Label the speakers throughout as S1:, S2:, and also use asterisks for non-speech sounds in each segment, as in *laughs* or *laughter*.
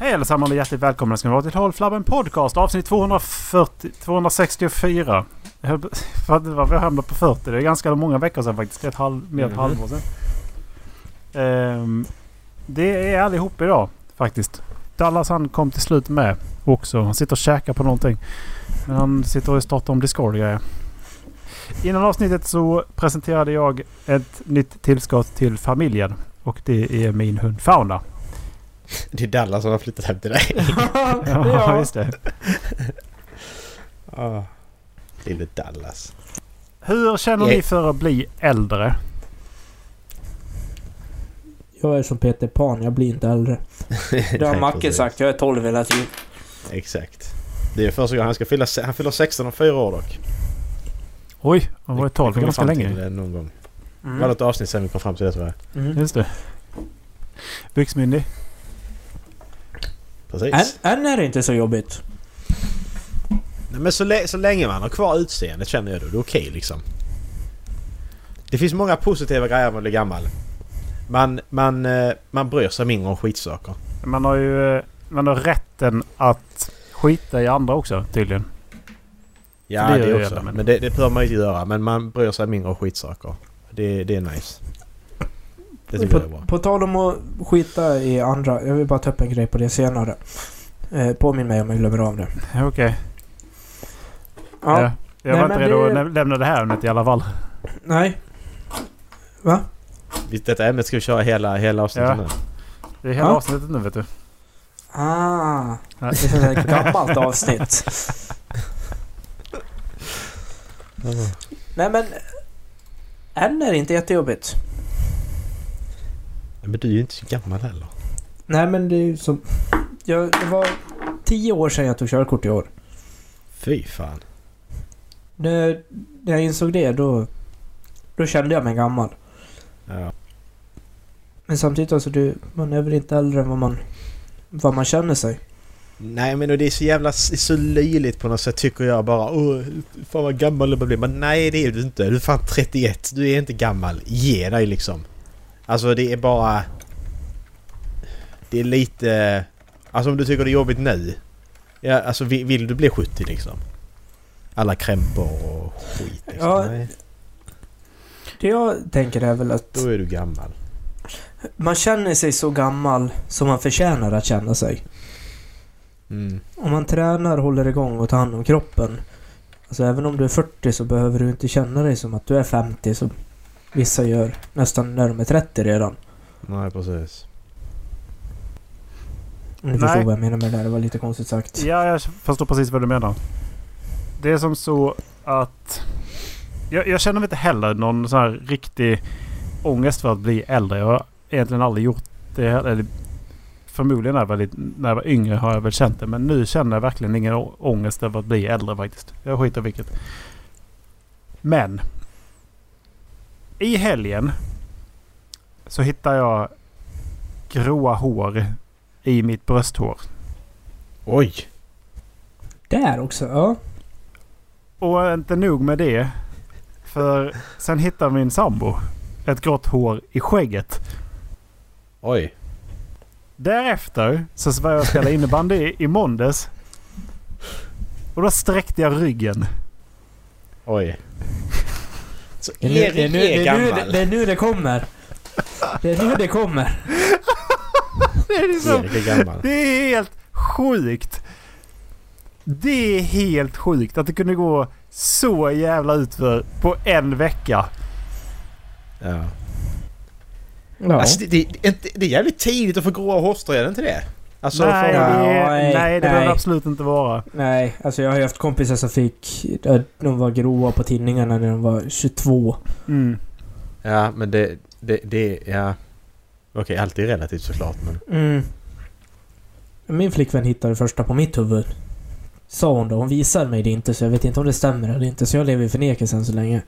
S1: Hej allesammans och hjärtligt välkomna ska ni vara till Hållflabben Podcast avsnitt 240, 264. Jag höll på- *laughs* Jag vet inte varför jag hamnade på 40. Det är ganska många veckor sedan faktiskt. Ett halv, mer än ett
S2: Mhm.
S1: halvår sedan. Ehm, det är allihop idag faktiskt. Dallas han kom till slut med också. Han sitter och käkar på någonting. Men han sitter och startar om Discord och grejer. Innan avsnittet så presenterade jag ett nytt tillskott till familjen. Och det är min hund Fauna.
S2: Det är Dallas som har flyttat hem till dig.
S1: Ja, *laughs* ja. visst det.
S2: Ah. Lille Dallas.
S1: Hur känner ni
S2: Jag-
S1: för att bli äldre?
S3: Jag är som Peter Pan, jag blir inte äldre. Det har
S2: Nej,
S3: Macke
S2: precis.
S3: sagt, jag är 12 hela tiden.
S2: Exakt. Det är första gången han ska fylla... se- Han fyller 16 om fyra år dock.
S1: Oj, han var ju 12
S2: Vi kommer
S1: ganska
S2: fram till
S1: länge.
S2: Det någon gång. Det var
S3: Mm.
S2: något avsnitt sen vi kom fram till det tyvärr.
S3: Mm.
S1: Just det. Byxmyndig.
S2: Precis.
S3: Än, än är det inte så jobbigt.
S2: Nej, men så, lä- så länge man har kvar utseendet känner jag då. Det är okej liksom. Det finns många positiva grejer med att bli gammal. Man, man, eh, man bryr sig mindre om skitsaker.
S1: Man har ju eh, man har rätten att skita i andra också tydligen.
S2: Ja,
S1: Det
S2: det,
S1: gör jag
S2: också.
S1: gärna, men-
S2: men det, det behöver man ju inte göra. Men man bryr sig mindre om skitsaker. Det, det är nice. Det tycker jag är
S3: På,
S2: bra.
S3: på tal om att skita i andra, jag vill bara ta upp en grej på det senare. Eh, påminn mig om jag glömmer av det.
S1: Ja, Okej. Ja.
S3: Ja,
S1: Jag
S3: Nej,
S1: var inte
S3: men
S1: redo
S3: det-
S1: att nä- lämna det här ämnet i alla fall.
S3: nej. Va?
S2: Visst, Detta ämnet ska vi köra hela, hela avsnittet
S1: Ja.
S2: nu.
S1: Det är hela
S3: Ja.
S1: avsnittet nu vet du.
S3: Ah,
S1: Nej.
S3: det är sånt där gammalt avsnitt. Nej men... Än är det inte jättejobbigt.
S2: Men du är ju inte så gammal heller.
S3: Nej men det är ju som... Jag, det var 10 år sedan jag tog körkort i år.
S2: Fy fan.
S3: När, när jag insåg det då, då kände jag mig gammal.
S2: Ja.
S3: Men samtidigt alltså, du, man är väl inte äldre än vad man, vad man känner sig.
S2: Nej men och det är så jävla det är så löjligt på något sätt tycker jag bara. Åh, fan vad gammal du börjar bli. Men nej det är du inte. Du är fan 31. Du är inte gammal. Ge dig liksom. Alltså det är bara... Det är lite... Alltså om du tycker det är jobbigt nu. Ja, alltså vill, vill du bli 70 liksom? Alla krämpor och skit liksom.
S3: Ja.
S2: Nej,
S3: Det jag tänker är väl att
S2: då är du gammal.
S3: man känner sig så gammal som man förtjänar att känna sig.
S2: Mm.
S3: Om man tränar, håller igång och tar hand om kroppen. Alltså även om du är 40 så behöver du inte känna dig som att du är 50 som vissa gör nästan när de är 30 redan.
S2: Nej precis.
S3: Om
S1: Nej.
S3: du förstår vad jag menar med det där, det var lite konstigt sagt.
S1: Ja, jag förstår precis vad du menar. Det är som så att... Jag, jag känner mig inte heller någon sån här riktig ångest för att bli äldre. Jag har egentligen aldrig gjort det. heller. Eller förmodligen när jag, var lite, när jag var yngre har jag väl känt det. Men nu känner jag verkligen ingen å- ångest över att bli äldre faktiskt. Jag skiter i vilket. Men. I helgen. Så hittar jag gråa hår i mitt brösthår.
S2: Oj!
S3: Där också, ja.
S1: Och inte nog med det. För sen hittar min sambo ett grått hår i skägget.
S2: Oj!
S1: Därefter så var jag och spelade innebandy i- i måndags. Och då sträckte jag ryggen.
S2: Oj! Så
S3: Det är, nu, det, är nu, det, är nu,
S2: gammal.
S3: det, det är nu det kommer. Det är nu det kommer.
S1: Det är, liksom,
S2: Erik är gammal.
S3: *laughs*
S1: det är helt sjukt. Det är helt sjukt att det kunde gå så jävla utför på en vecka.
S2: Ja.
S3: Ja.
S2: Alltså, det, det, det, är inte- det är jävligt tidigt att få gråa hårstrån, är det inte det? Alltså,
S1: nej, det,
S2: för,
S3: Nej,
S1: nej, det behöver
S3: nej.
S1: absolut inte vara.
S3: Nej, alltså jag har ju haft kompisar som fick... där De var gråa på tidningarna när de var 22.
S1: Mm.
S2: Ja, men det... det, det ja. Okej, allt är relativt såklart, men...
S3: Mm. Min flickvän hittade det första på mitt huvud. Sa hon då. Hon visade mig det inte så jag vet inte om det stämmer eller inte. Så jag lever i förnekelsen så länge.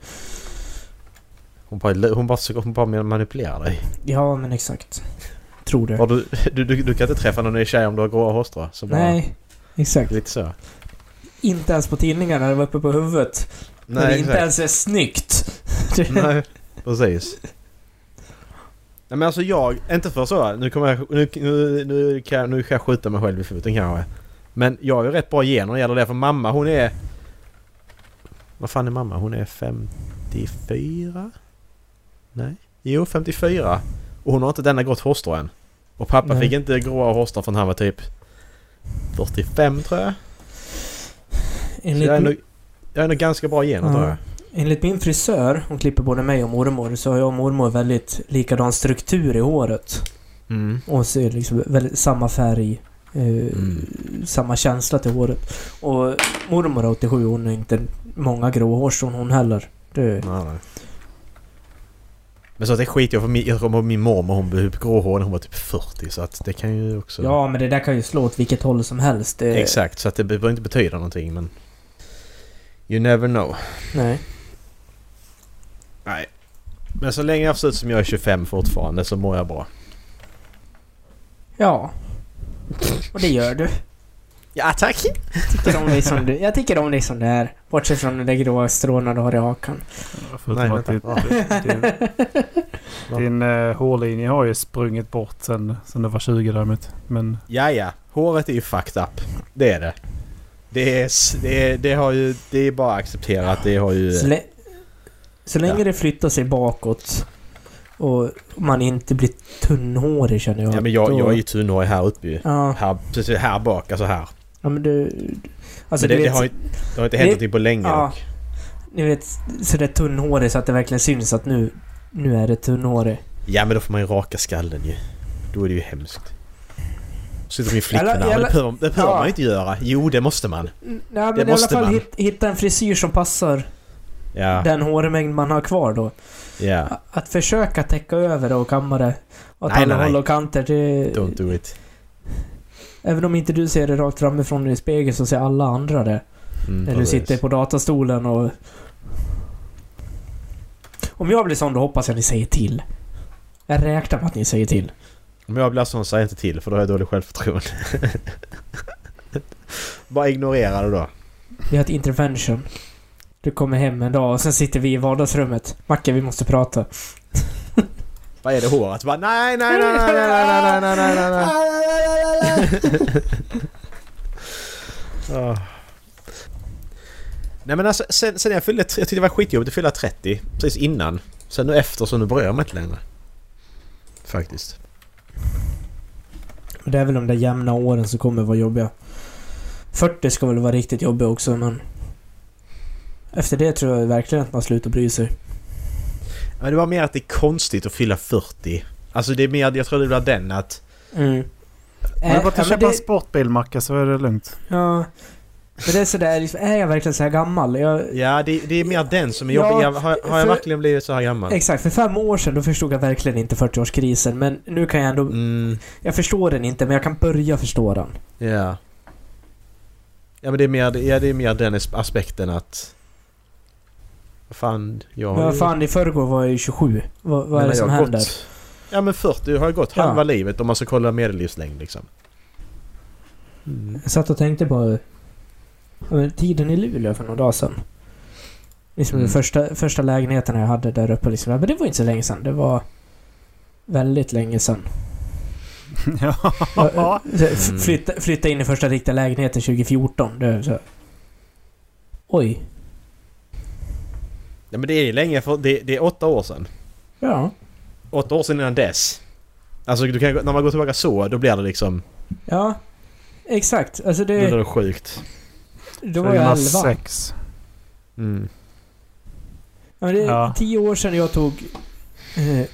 S2: Hon bara, hon bara, hon bara manipulerar dig.
S3: Ja, men exakt. Tror det.
S2: Har du, du, du, du kan inte träffa någon ny tjej om du har gråa hårstrån? så bara-
S3: Nej, exakt.
S2: Lite så.
S3: Inte ens på tidningarna. Det var uppe på huvudet.
S2: *laughs*
S3: *laughs* Nej, när det inte ens är snyggt.
S2: Nej, precis. Nej men alltså jag, inte för så, nu kommer jag, nu, nu, nu, kan, jag- nu kan jag skjuta mig själv i foten kanske. Men jag har ju rätt bra gener när det gäller det för mamma hon är... Vad fan är mamma? Hon är 54? Nej? Jo 54. Och hon har inte denna grått hårstrå än. Och pappa
S3: Nej.
S2: fick inte gråa hårstrån förrän han var typ 45 tror jag. Så
S3: Enligt,
S2: jag är nog, jag är nog ganska bra gener tror
S3: Ja.
S2: jag.
S3: enligt min frisör, hon klipper både mig och mormor, så har jag och mormor väldigt likadan struktur i håret.
S2: Mm.
S3: Och så är det liksom väldigt samma färg. Eh,
S2: Mm.
S3: Samma känsla till håret. Och mormor är 87 hon är inte många gråhårstrån hon heller. Det,
S2: Nej, nej. Men så att det skiter jag för min, jag kommer ihåg min mormor hon blev gråhårig när hon var typ 40 så att det kan ju också...
S3: ja men det där kan ju slå åt vilket håll som helst. Det,
S2: Exakt, så att det behöver inte betyda någonting men... You never know.
S3: Nej.
S2: Nej. Men så länge jag ser ut som jag är 25 fortfarande så mår jag bra.
S3: Ja. Och det gör du.
S2: Ja tack!
S3: Tycker om dig som du, jag tycker om dig som du är. Bortsett från de där gråa stråna du har i hakan.
S1: Förutom
S2: Nej,
S1: att
S2: vänta.
S1: din, din, din eh, hårlinje har ju sprungit bort sen, sen du var 20 däremot. Men
S2: Ja, ja. Håret är ju fucked up. Det är det. Det är, s- det är, det har ju, det är bara accepterat. Det har ju...
S3: Så, lä- så länge
S2: Ja.
S3: det flyttar sig bakåt och man inte blir tunnhårig känner jag.
S2: Ja men jag,
S3: då-
S2: jag är ju tunnhårig här uppe ju.
S3: Ja,
S2: Här, precis här bak, alltså här.
S3: ja men du... Alltså
S2: Men
S3: du
S2: det, det,
S3: vet,
S2: har, ju- det har inte
S3: det-
S2: hänt någonting på länge
S3: ja.
S2: dock.
S3: ni vet sådär tunnhårig så att det verkligen syns att nu, nu är det tunnhårig.
S2: Ja men då får man ju raka skallen ju. Då är det ju hemskt. Sitter min flickvän
S3: Eller-
S2: här. men
S3: eller-
S2: Det behöver, det behöver
S3: ja.
S2: man ju inte göra. Jo det måste man.
S3: Mm, Nej men
S2: Det
S3: i alla
S2: måste
S3: fall
S2: man.
S3: hit, hitta en frisyr som passar
S2: Ja.
S3: den hårmängd man har kvar då.
S2: ja.
S3: Att försöka täcka över och kamma det åt
S2: Nej,
S3: alla
S2: nej, nej.
S3: håll och kanter. Det,
S2: Don't do it.
S3: även om inte du ser det rakt framifrån i spegeln så ser alla andra det.
S2: Mm,
S3: När du
S2: precis.
S3: sitter på datastolen och... Om jag blir sån då hoppas jag ni säger till. Jag räknar med att ni säger till.
S2: Om jag blir sån säger jag inte till för då har jag dåligt självförtroende. *laughs* Bara ignorera det då.
S3: Vi har ett intervention. Du kommer hem en dag och sen sitter vi i vardagsrummet. Macke, vi måste prata.
S2: Vad är det håret? Bara, nej, nej, nej, nej, nej, nej, nej, nej, nej, nej, nej. Ah. Nej men alltså sen, sen jag fyllde... Jag tyckte det var skitjobbigt att fylla 30. Precis innan. Sen nu efter så nu bryr jag mig inte längre. Faktiskt.
S3: Det är väl de där jämna åren som kommer vara jobbiga. 40 ska väl vara riktigt jobbiga också men... Efter det tror jag verkligen att man slutar bry sig.
S2: Men det var mer att det är konstigt att fylla 40. Alltså det är mer... Jag tror det var den att...
S3: Mm.
S1: om du bara att
S3: ja, men
S1: köpa en
S3: det-
S1: sportbil Macke så är det lugnt.
S3: Ja. Men det är sådär, liksom, är jag verkligen så här gammal? Jag,
S2: Ja det, det är mer den som är
S3: Ja,
S2: jobbig. Jag- Har, har jag
S3: för-
S2: verkligen blivit så här gammal?
S3: Exakt, för fem år sedan då förstod jag verkligen inte 40-årskrisen. Men nu kan jag ändå...
S2: Mm,
S3: Jag förstår den inte, men jag kan börja förstå den.
S2: ja. Ja men det är mer, ja, det är mer den aspekten att... Vad fan, jag
S3: Men
S2: ju-
S3: vad fan, i förrgår var jag ju 27. Vad, vad är
S2: Men
S3: det som
S2: jag har
S3: händer?
S2: Gått, ja men 40 har ju gått
S3: Ja.
S2: halva livet om man ska kolla medellivslängd liksom.
S3: Jag satt och tänkte på... ja, men Tiden i Luleå för några dagar sedan. Liksom
S2: Mm.
S3: den första, första lägenheten jag hade där uppe. Liksom. Men det var inte så länge sedan. Det var väldigt länge sedan. Jag-
S1: ja.
S3: jag- så f-
S2: Mm.
S3: Flytta, flytta in i första riktiga lägenheten 2014. Det är så. här- Oj.
S2: Ja men det är länge för det, det är åtta år sedan.
S3: Ja.
S2: Åtta år sedan innan dess. Alltså du kan, gå- när man går tillbaka så, då blir det liksom...
S3: Ja. Exakt. Alltså
S2: Då
S3: det...
S2: blir det sjukt.
S3: Då var jag 11.
S1: 2006.
S2: Mm.
S3: Ja, men det är
S1: Ja.
S3: tio år sedan jag tog eh, eh,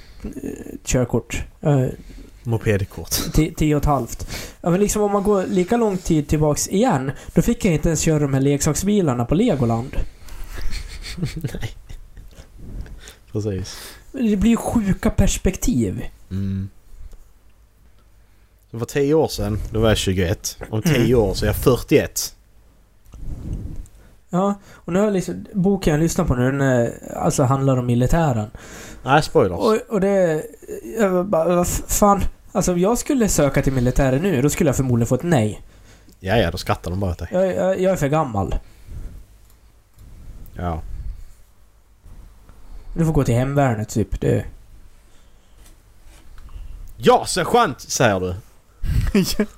S3: körkort. Eh,
S2: Mopedkort. *laughs*
S3: ti- tio och ett halvt. Ja, men liksom om man går lika lång tid tillbaks igen, då fick jag inte ens köra de här leksaksbilarna på Legoland.
S2: Precis.
S3: Det blir ju sjuka perspektiv.
S2: Mm. Det var tio år sedan, då var jag 21. Om tio
S3: Mm.
S2: år så är jag 41.
S3: Ja, och nu har jag liksom, boken jag lyssnar på nu, den är, alltså handlar om militären.
S2: Nej, spoilers.
S3: Och, och det... Jag var bara, vad fan. Alltså om jag skulle söka till militären nu, då skulle jag förmodligen få ett nej.
S2: Ja, ja, då skrattar de bara åt dig.
S3: Jag, jag, jag är för gammal.
S2: Ja.
S3: Du får gå till hemvärnet typ. Det...
S2: Ja, sergeant! Säger du.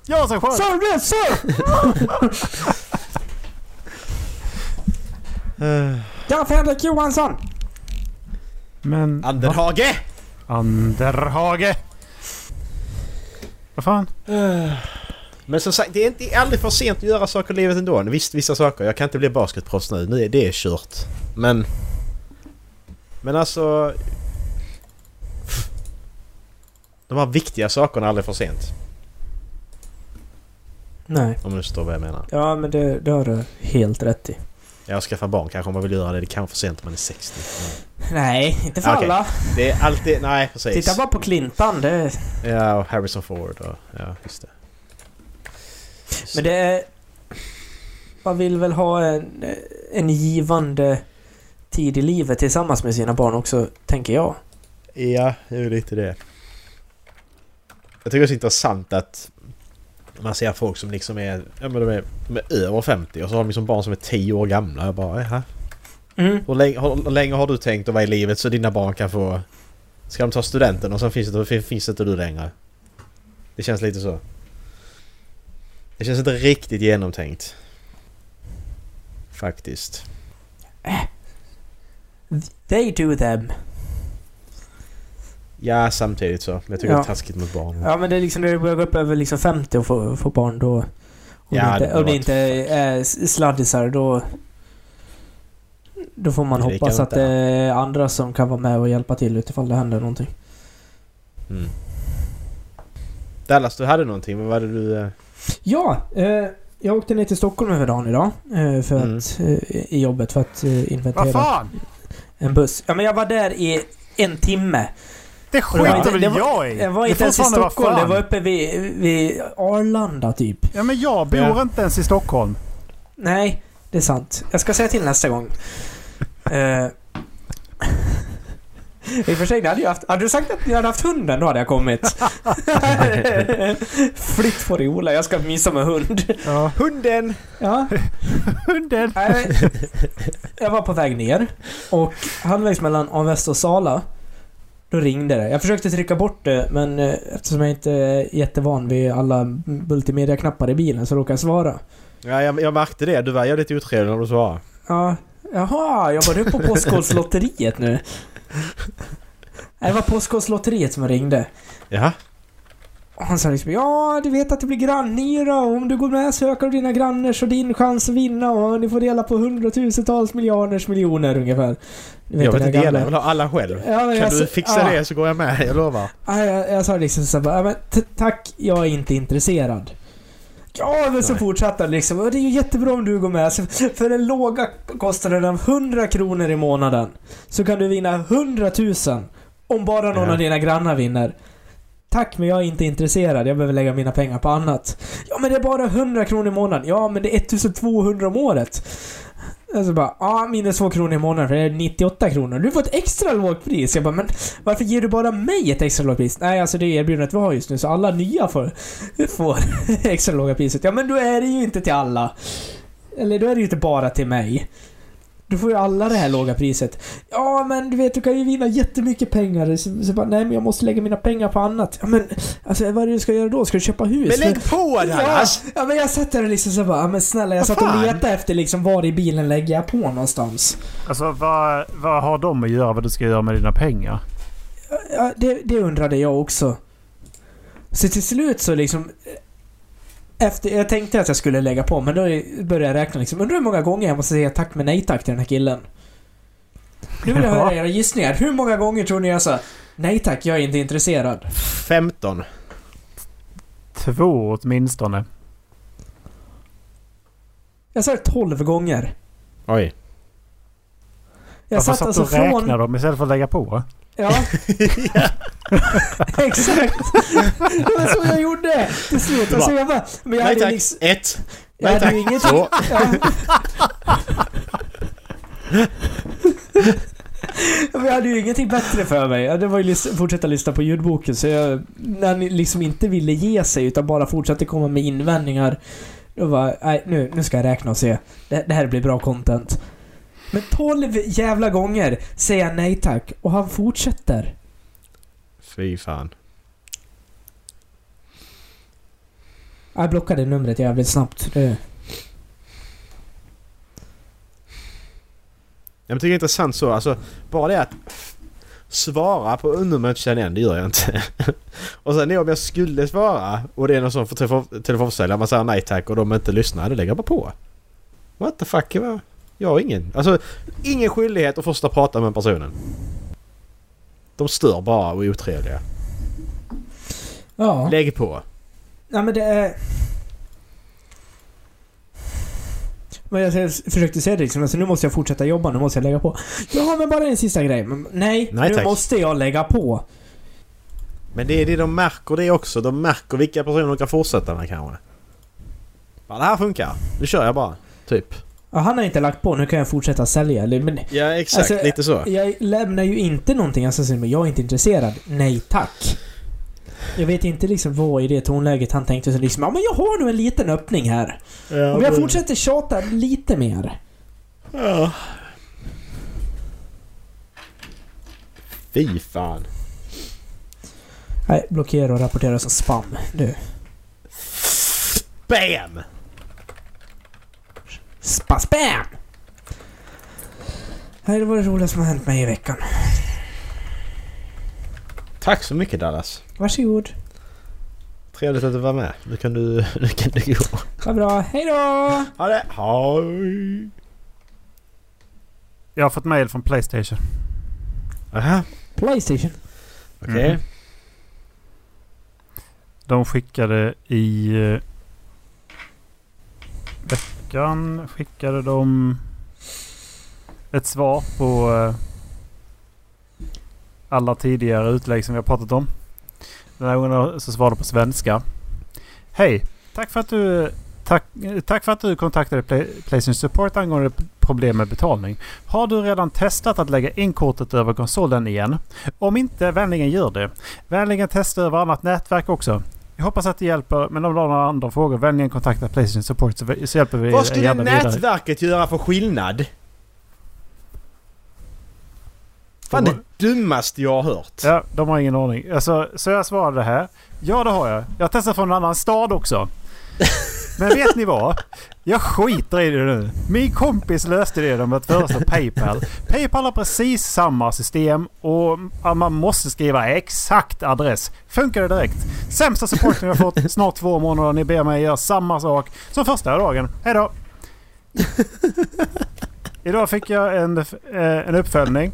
S1: ja, så skönt!
S3: Sir, yes, sir! *laughs*
S2: Uh,
S3: Jag Fredrik Johansson!
S1: Men...
S2: Anderhage!
S1: Anderhage! Vad fan?
S2: Men som sagt, det är, inte, det är aldrig för sent att göra saker i livet ändå. Visst, vissa saker. Jag kan inte bli basketproffs nu. nu. är- Det är kört. Men... Men alltså... De här viktiga sakerna är aldrig för sent.
S3: Nej.
S2: Om du förstår vad jag menar.
S3: Ja, men det, det har du helt rätt i.
S2: Jag skaffa barn kanske om man vill göra det. Det kan vara för sent om man är 60. Men
S3: Nej, inte för
S2: Okej.
S3: alla.
S2: det är alltid... Nej, precis.
S3: Titta bara på Clintan. Det,
S2: Ja, och Harrison Ford och... Ja, just det.
S3: men det är... Man vill väl ha en, en givande tid i livet tillsammans med sina barn också, tänker jag.
S2: Ja, det är ju lite det. Jag tycker det är så intressant att man ser folk som liksom är, ja, men de är, de är över 50 och så har de liksom barn som är 10 år gamla. Jag bara, jaha.
S3: Mm.
S2: Hur länge, hur länge har du tänkt att vara i livet så dina barn kan få... Ska de ta studenten och sen finns det, fin- finns det inte du längre? Det känns lite så. Det känns inte riktigt genomtänkt. Faktiskt.
S3: They do them.
S2: Ja, samtidigt så. Men jag tycker
S3: Ja.
S2: det är taskigt mot barn.
S3: Ja, men det är liksom när du börjar gå upp över liksom 50 och få, få barn då... Om
S2: Ja,
S3: det
S2: det
S3: inte,
S2: har
S3: om det
S2: varit-
S3: inte är sladdisar då... Då får man
S2: Det
S3: hoppas
S2: kan
S3: att
S2: inte-
S3: det är andra som kan vara med och hjälpa till utifall det händer någonting.
S2: Mm. Dallas, du hade någonting. Vad var det du... eh,
S3: Ja, eh, jag åkte ner till Stockholm över dagen idag. Eh, för
S2: Mm.
S3: att, eh, I jobbet för att eh,
S1: Vad
S3: inventera
S1: fan?
S3: en buss. Ja, men jag var där i en timme.
S1: Det
S3: var inte-
S1: skiter väl
S3: det var-
S1: jag i!
S3: Jag var
S1: Det
S3: inte
S1: får
S3: ens i
S1: fan vara
S3: Stockholm.
S1: fan.
S3: Jag var uppe vid, vid Arlanda typ.
S1: Ja men jag bor
S2: Ja.
S1: inte ens i Stockholm.
S3: Nej, det är sant. Jag ska säga till nästa gång. Eh, I och för sig, det hade, jag haft, hade du sagt att ni hade haft hunden, då hade jag kommit. Flytt på dig Ola, jag ska mysa med hund.
S1: Ja.
S2: Hunden!
S3: Ja,
S1: Hunden!
S3: nej. jag var på väg ner och halvvägs mellan Avesta och Sala då ringde det. Jag försökte trycka bort det men eh, eftersom jag inte är jättevan vid alla multimedia-knappar i bilen så råkade jag svara.
S2: Ja, jag, jag märkte det. Du var ju lite otrevlig när du svarade.
S3: Ja, jaha, jobbar du på Postkodlotteriet nu? Nej, det var Postkodlotteriet som ringde.
S2: Jaha?
S3: Och han sa liksom ja, du vet att det blir grannyra och om du går med så ökar du dina grannars och din chans att vinna och ni får dela på hundratusentals miljarders miljoner ungefär. Du
S2: Jag vill
S3: den
S2: inte
S3: där
S2: dela,
S3: gamla-
S2: jag vill ha alla själv.
S3: Ja, men
S2: Kan du
S3: sa-
S2: fixa
S3: ja.
S2: det så går jag med, jag lovar.
S3: Ja, jag, jag sa liksom så här bara, "Ja, men t- tack, jag är inte intresserad. Ja, men så
S2: Nej.
S3: fortsatte han liksom. "Och Det är ju jättebra om du går med. Så för den låga kostnaden av 100 kronor i månaden så kan du vinna 100 000 om bara någon
S2: Ja.
S3: av dina grannar vinner. Tack, men jag är inte intresserad. Jag behöver lägga mina pengar på annat. Ja, men det är bara 100 kronor i månaden. Ja, men det är 1200 om året. Alltså bara, ja, minus 2 kronor i månaden för det är 98 kronor. Du får ett extra lågt pris. Jag bara, men varför ger du bara mig ett extra lågt pris? Nej, alltså det är erbjudandet vi har just nu, så alla nya får, *laughs* får extra låga priset. Ja, men då är det ju inte till alla. Eller då är det ju inte bara till mig. Du får ju alla det här låga priset. Ja, men du vet, du kan ju vinna jättemycket pengar. Så, så bara, nej, men jag måste lägga mina pengar på annat. Ja, men alltså vad är det du ska göra då? Ska du köpa hus?
S2: Men
S3: För-
S2: lägg på
S3: Ja,
S2: Dallas!
S3: ja, men jag satt där och liksom så bara, ja, men snälla jag
S2: Vad
S3: satt och
S2: fan?
S3: letade efter liksom var i bilen lägger jag på någonstans.
S1: Alltså vad, vad har de att göra vad du ska göra med dina pengar?
S3: Ja, det, det undrade jag också. Så till slut så liksom... eh, Efter, jag tänkte att jag skulle lägga på, men då började jag räkna liksom. Undrar hur många gånger jag måste säga tack men nej tack till den här killen. Nu vill jag
S1: Ja.
S3: höra era gissningar. Hur många gånger tror ni jag sa nej tack, jag är inte intresserad?
S2: 15.
S1: Två åtminstone.
S3: Jag sa det 12 gånger.
S2: Oj.
S3: Jag alltså
S1: Varför Alltså, satt du och räknade dem istället för att lägga på?
S3: Ja. Exakt. Det var så jag gjorde till slut.
S2: Du
S3: Alltså
S2: bara,
S3: jag bara, men jag
S2: Nej
S3: hade
S2: tack!
S3: liksom...
S2: Ett!
S3: Jag
S2: Nej
S3: hade
S2: tack!
S3: ju inget...
S2: Två!
S3: Ja. Men jag hade ju ingenting bättre för mig. Ja, Det var ju lys- fortsätta lyssna på ljudboken. Så jag, när ni liksom inte ville ge sig utan bara fortsatte komma med invändningar. Då var nej nu, nu ska jag räkna och se. Det, det här blir bra content. Men 12 jävla gånger säger jag nej tack och han fortsätter.
S2: Fy fan.
S3: Jag blockade numret jävligt snabbt. Eh. Det...
S2: Jag tycker det är intressant så. Alltså, bara det att svara på undernumret känner jag igen, det gör jag inte. *laughs* och sen om jag skulle svara och det är någon som får telefon- telefonförsäljare, man säger nej tack och de inte lyssnar, då lägger jag bara på. What the fuck? Jag, jag har ingen... Alltså, ingen skyldighet att först prata med personen. De stör bara och är otrevliga.
S3: Ja.
S2: Lägg på.
S3: Nej men det är... Men jag säger- försökte säga det liksom, alltså, nu måste jag fortsätta jobba, nu måste jag lägga på. Ja men bara en sista grej. Men, nej,
S2: Nej,
S3: nu
S2: tack.
S3: måste jag lägga på.
S2: Men det är det de märker det också. De märker vilka personer de kan fortsätta med kanske. Bara, det här funkar. Nu kör jag bara. Typ.
S3: Ja, han har inte lagt på, nu kan jag fortsätta sälja. Eller, Men
S2: Ja exakt,
S3: Alltså,
S2: lite så.
S3: jag lämnar ju inte någonting, alltså, men jag är inte intresserad. Nej tack. Jag vet inte liksom vad i det tonläget han tänkte så liksom, ja men jag har nu en liten öppning här. Om jag fortsätter tjata lite mer.
S2: Ja. Fy fan.
S3: Nej, blockera och rapportera som spam. Du.
S2: Bam!
S3: Spa spam! Nej, det var det roligaste som har hänt mig i veckan.
S2: Tack så mycket Dallas.
S3: Varsågod.
S2: Trevligt att du var med. Nu kan du, *laughs* nu kan du gå.
S3: Vad bra. Hej då!
S2: Ha det! Hej!
S1: Jag har fått mail från Playstation.
S2: Aha,
S3: Playstation.
S2: okej.
S1: Mhm. De skickade i eh, veckan skickade de ett svar på eh, alla tidigare utlägg som vi har pratat om. Den här gången så svarade de på svenska. Hej! Tack för att du, tack, eh, tack för att du kontaktade Play, Playstation Support angående p- problem med betalning. Har du redan testat att lägga in kortet över konsolen igen? Om inte, vänligen gör det. Vänligen testa över annat nätverk också. Jag hoppas att det hjälper, men om du har några andra frågor, vänligen kontakta Playstation Support så, så hjälper vi
S2: Vad skulle
S1: gärna vidare.
S2: nätverket göra för skillnad? Fan det dummaste jag har hört.
S1: Ja, de har ingen aning. Alltså, så jag svarade här. Ja, det har jag. Jag har testat från en annan stad också. Men vet ni vad? Jag skiter i det nu. Min kompis löste det genom att föreslå Paypal. Paypal har precis samma system och att man måste skriva exakt adress. Funkar det direkt? Sämsta supporten jag fått snart två månader. Ni ber mig göra samma sak som första dagen. Hej då! Idag fick jag en, eh, en uppföljning.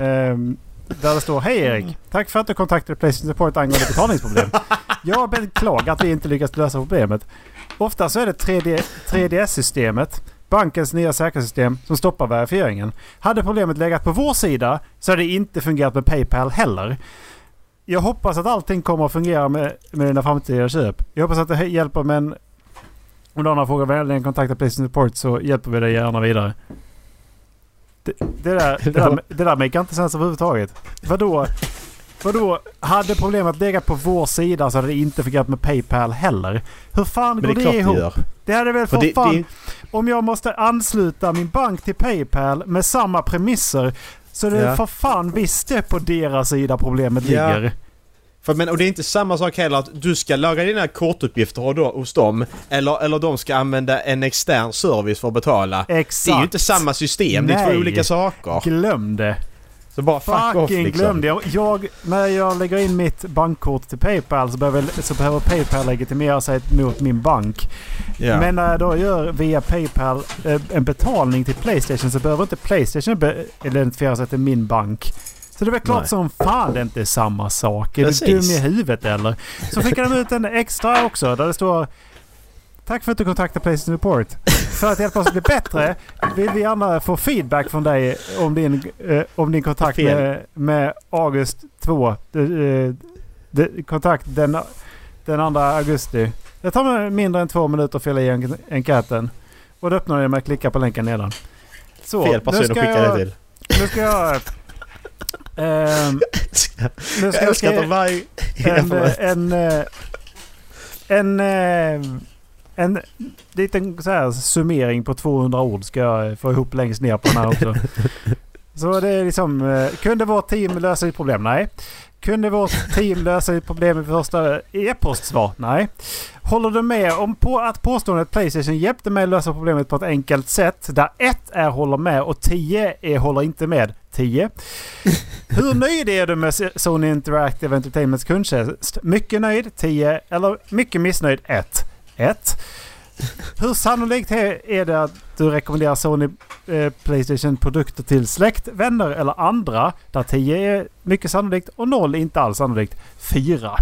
S1: Ehm, där det står Hej Erik! Tack för att du kontaktade Playstation Support angående betalningsproblem. Jag beklagar att vi inte lyckats lösa problemet. Ofta så är det 3D, 3DS-systemet, bankens nya säkerhetssystem, som stoppar verifieringen. Hade problemet legat på vår sida så hade det inte fungerat med Paypal heller. Jag hoppas att allting kommer att fungera med, med dina framtida köp. Jag hoppas att det he- hjälper men om du har några frågor vänligen kontakta Playstation Support så hjälper vi dig gärna vidare. Det, det, där, det, där, det där make inte sens överhuvudtaget. Vadå? Vadå? Hade problemet legat på vår sida så hade det inte fungerat med Paypal heller. Hur fan går
S2: Men det är
S1: det,
S2: klart det
S1: ihop?
S2: gör.
S1: Det hade väl
S2: För
S1: för
S2: det,
S1: fan...
S2: det,
S1: Om jag måste ansluta min bank till Paypal med samma premisser så det
S2: Ja.
S1: för fan visst det på deras sida problemet
S2: Ja.
S1: ligger.
S2: för, men, och det är inte samma sak heller att du ska lagra dina kortuppgifter och då- hos dem eller, eller de ska använda en extern service för att betala.
S1: Exakt.
S2: Det är ju inte samma system, det är
S1: Nej.
S2: två olika saker.
S1: Glöm det.
S2: Så bara fuck off
S1: Fucking glöm
S2: liksom.
S1: det. Jag, när jag lägger in mitt bankkort till Paypal så behöver, så behöver Paypal legitimera sig mot min bank.
S2: Ja.
S1: Men när jag då gör via Paypal eh, en betalning till Playstation så behöver inte Playstation be- identifiera sig till min bank. Så det är väl klart
S2: Nej.
S1: som fan det inte är samma sak. Är
S2: Precis.
S1: du dum i huvudet eller? Så skickar de ut en extra också där det står Tack för att du kontaktade Playstation Report. För att hjälpa oss att bli bättre vill vi gärna få feedback från dig om din, eh, om din kontakt
S2: Fel.
S1: med, med August 2. Eh, eh, de, kontakt den, den 2 augusti. Det tar mig mindre än två minuter att fylla i en- enkäten. Och då öppnar jag med att klicka på länken nedan. Så,
S2: Fel person att
S1: nu ska
S2: skicka
S1: jag,
S2: det till.
S1: Nu ska jag...
S2: *laughs*
S1: ehm, nu ska
S2: Jag
S1: jag
S2: älskar att
S1: skriva
S2: de varje... *laughs*
S1: en, en, eh, en, eh, en liten så här summering på 200 ord ska jag få ihop längst ner på den här också. Så det är liksom, eh, kunde vårt team lösa ditt problem? Nej. Kunde vårt team lösa ditt problem i första e-postsvar? Nej. Håller du med om på att påståendet Playstation hjälpte mig lösa problemet på ett enkelt sätt där 1 är håller med och 10 är håller inte med? 10. Hur nöjd är du med Sony Interactive Entertainments kundtjänst? Mycket nöjd? 10. Eller mycket missnöjd? 1. 1. Hur sannolikt är är det att du rekommenderar Sony eh, Playstation produkter till släkt, vänner eller andra? Där 10 är mycket sannolikt och 0 är inte alls sannolikt. 4.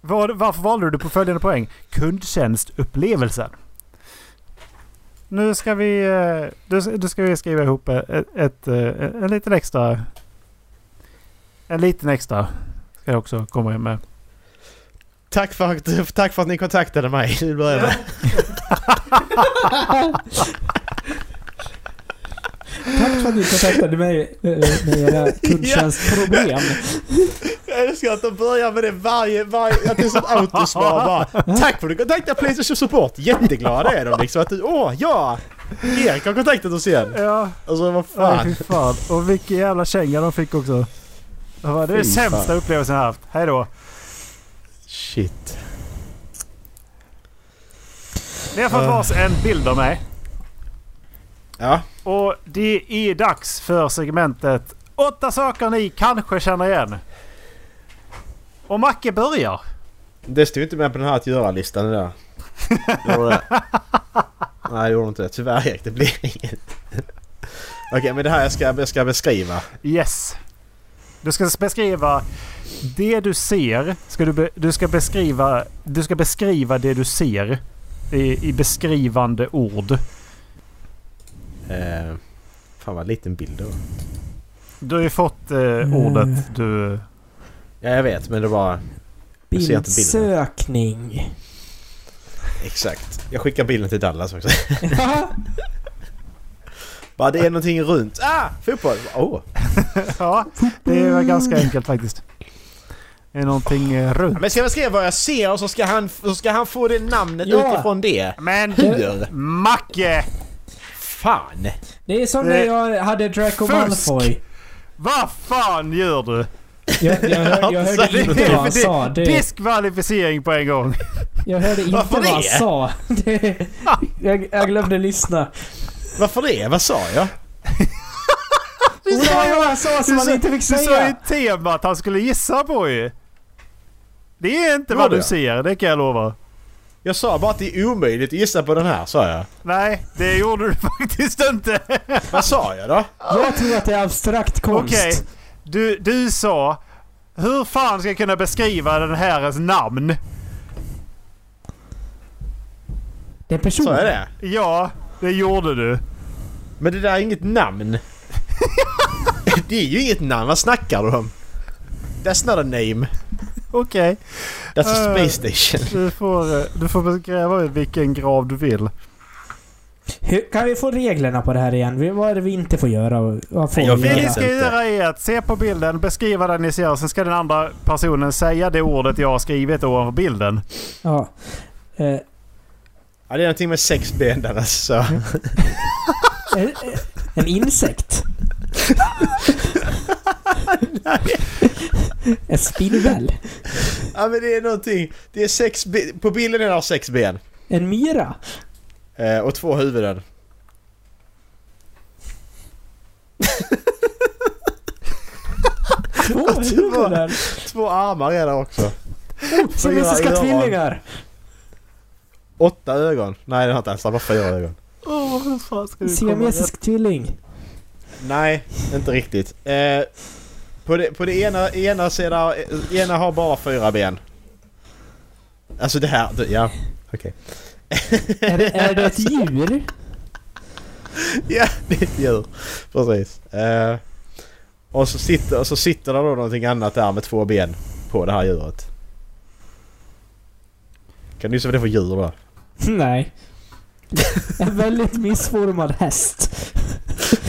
S1: Var, varför valde du på följande poäng? Kundtjänstupplevelsen. Nu ska vi, eh, du, du ska vi skriva ihop ett, ett, eh, en liten extra... En liten extra ska jag också komma med.
S2: Tack för, att, tack för att ni kontaktade mig. Nu börjar det.
S3: Tack för att ni kontaktade mig eh, med era kundtjänstproblem.
S2: *laughs* Jag älskar att de börjar med det varje... varje att det är som autosvar bara. *laughs* Tack för att du kontaktade Playstation Support. Jätteglada är de liksom. Att du, åh, ja! Erik har kontaktat oss igen.
S1: Ja,
S2: Alltså vad
S1: Nej,
S2: fan.
S1: fy fan. Och vilken jävla känga de fick också. Jag bara, Det är den
S2: Fy
S1: sämsta
S2: fan.
S1: upplevelsen jag haft. Hej då.
S2: Shit.
S1: Ni har fått
S2: Ah.
S1: vars en bild av mig.
S2: Ja.
S1: Och det är dags för segmentet Åtta saker ni kanske känner igen. Och Macke börjar.
S2: Det stod inte med på den här att göra-listan idag. *laughs* Gjorde det? Nej, det gjorde inte det. Tyvärr Erik, det blir inget. Okej, men det här jag ska, jag ska beskriva.
S1: Yes. Du ska beskriva det du ser. Ska du, be, du, ska beskriva, du ska beskriva det du ser i, i beskrivande ord.
S2: Eh, fan vad liten bild det var.
S1: Du har ju fått eh,
S3: Mm.
S1: ordet du...
S2: Ja, jag vet, men det var... Du ser inte bilden.
S3: Bildsökning.
S2: Exakt. Jag skickar bilden till Dallas *laughs* också. Bara det är någonting runt. Ah! Fotboll! Åh! Oh.
S1: Ja, det var ganska enkelt faktiskt. Det är någonting eh, runt.
S2: Men ska jag beskriva vad jag ser och så ska han, så ska han få det namnet
S3: Ja.
S2: utifrån det?
S1: Men
S2: Hur?
S1: Macke!
S2: Fan!
S3: Det är som när
S1: Det-
S3: jag hade Draco
S1: Fusk!
S3: Malfoy.
S1: Vad fan gör du?
S3: Jag, jag, hör, jag
S2: Det
S3: hörde
S2: är
S3: inte vad han sa.
S1: Det-
S3: Det,
S1: Diskvalificering på en gång.
S3: jag hörde inte
S2: Varför
S3: vad han
S2: det?
S3: sa. *laughs* Det, jag, jag glömde lyssna.
S2: Varför det? Vad sa jag?
S3: Och det var vad han sa som
S1: Du
S3: man
S1: sa-
S3: inte fick
S1: Du sa ju
S3: säga.
S1: temat han skulle gissa på ju. Det är inte
S2: Gjorde
S1: vad du
S2: jag?
S1: ser, det kan jag lova.
S2: Jag sa bara att det är omöjligt att gissa på den här, sa jag.
S1: Nej, det gjorde du *laughs* faktiskt inte.
S2: Vad sa jag då?
S3: Jag tror att det är abstrakt konst.
S1: Okej, du, du sa... Hur fan ska jag kunna beskriva den härens namn?
S3: Det är en person.
S2: Sa jag det?
S1: Ja, det gjorde du.
S2: Men det där är inget namn. det är ju inget namn, vad snackar du om? That's not a name.
S1: Okej.
S2: That's a
S1: Eh.
S2: space station.
S1: Du får, eh, du får beskriva vilken grav du vill.
S3: Hur, kan vi få reglerna på det här igen? Vi- Vad är det vi inte får göra? och Vad får
S2: Jag
S3: vi
S1: Det ni
S2: vet
S3: göra?
S1: ska
S2: inte.
S1: göra är att se på bilden, beskriva den ni ser. Sen ska den andra personen säga det ordet jag har skrivit ovanför bilden.
S3: Ja. Eh,
S2: Ja, det är någonting med sex ben där alltså.
S3: eh, en insekt? en spindel?
S2: Ja men det är någonting. Det är sex ben. På bilden är det här sex ben.
S3: En myra?
S2: Eh, och två huvuden.
S3: Två
S2: Att det var-
S3: huvuden?
S2: Två armar är där också.
S3: Siamesiska
S2: öron.
S3: tvillingar!
S2: Åtta ögon. Nej den har inte ens, den har fyra ögon.
S1: Åh, hur fan ska
S3: Siamesisk tvilling.
S2: Nej, inte riktigt. Eh, på det, på det ena, ena sidan, eh, ena har bara fyra ben. Alltså det här, det- ja. Okej.
S3: Är det, är det ett djur?
S2: *laughs* Ja, *laughs* det är ett djur. Precis. Eh, och så sitter, och så sitter det då någonting annat där med två ben på det här djuret. Kan du gissa vad det är för djur då?
S3: Nej. En väldigt missformad häst.
S2: *laughs*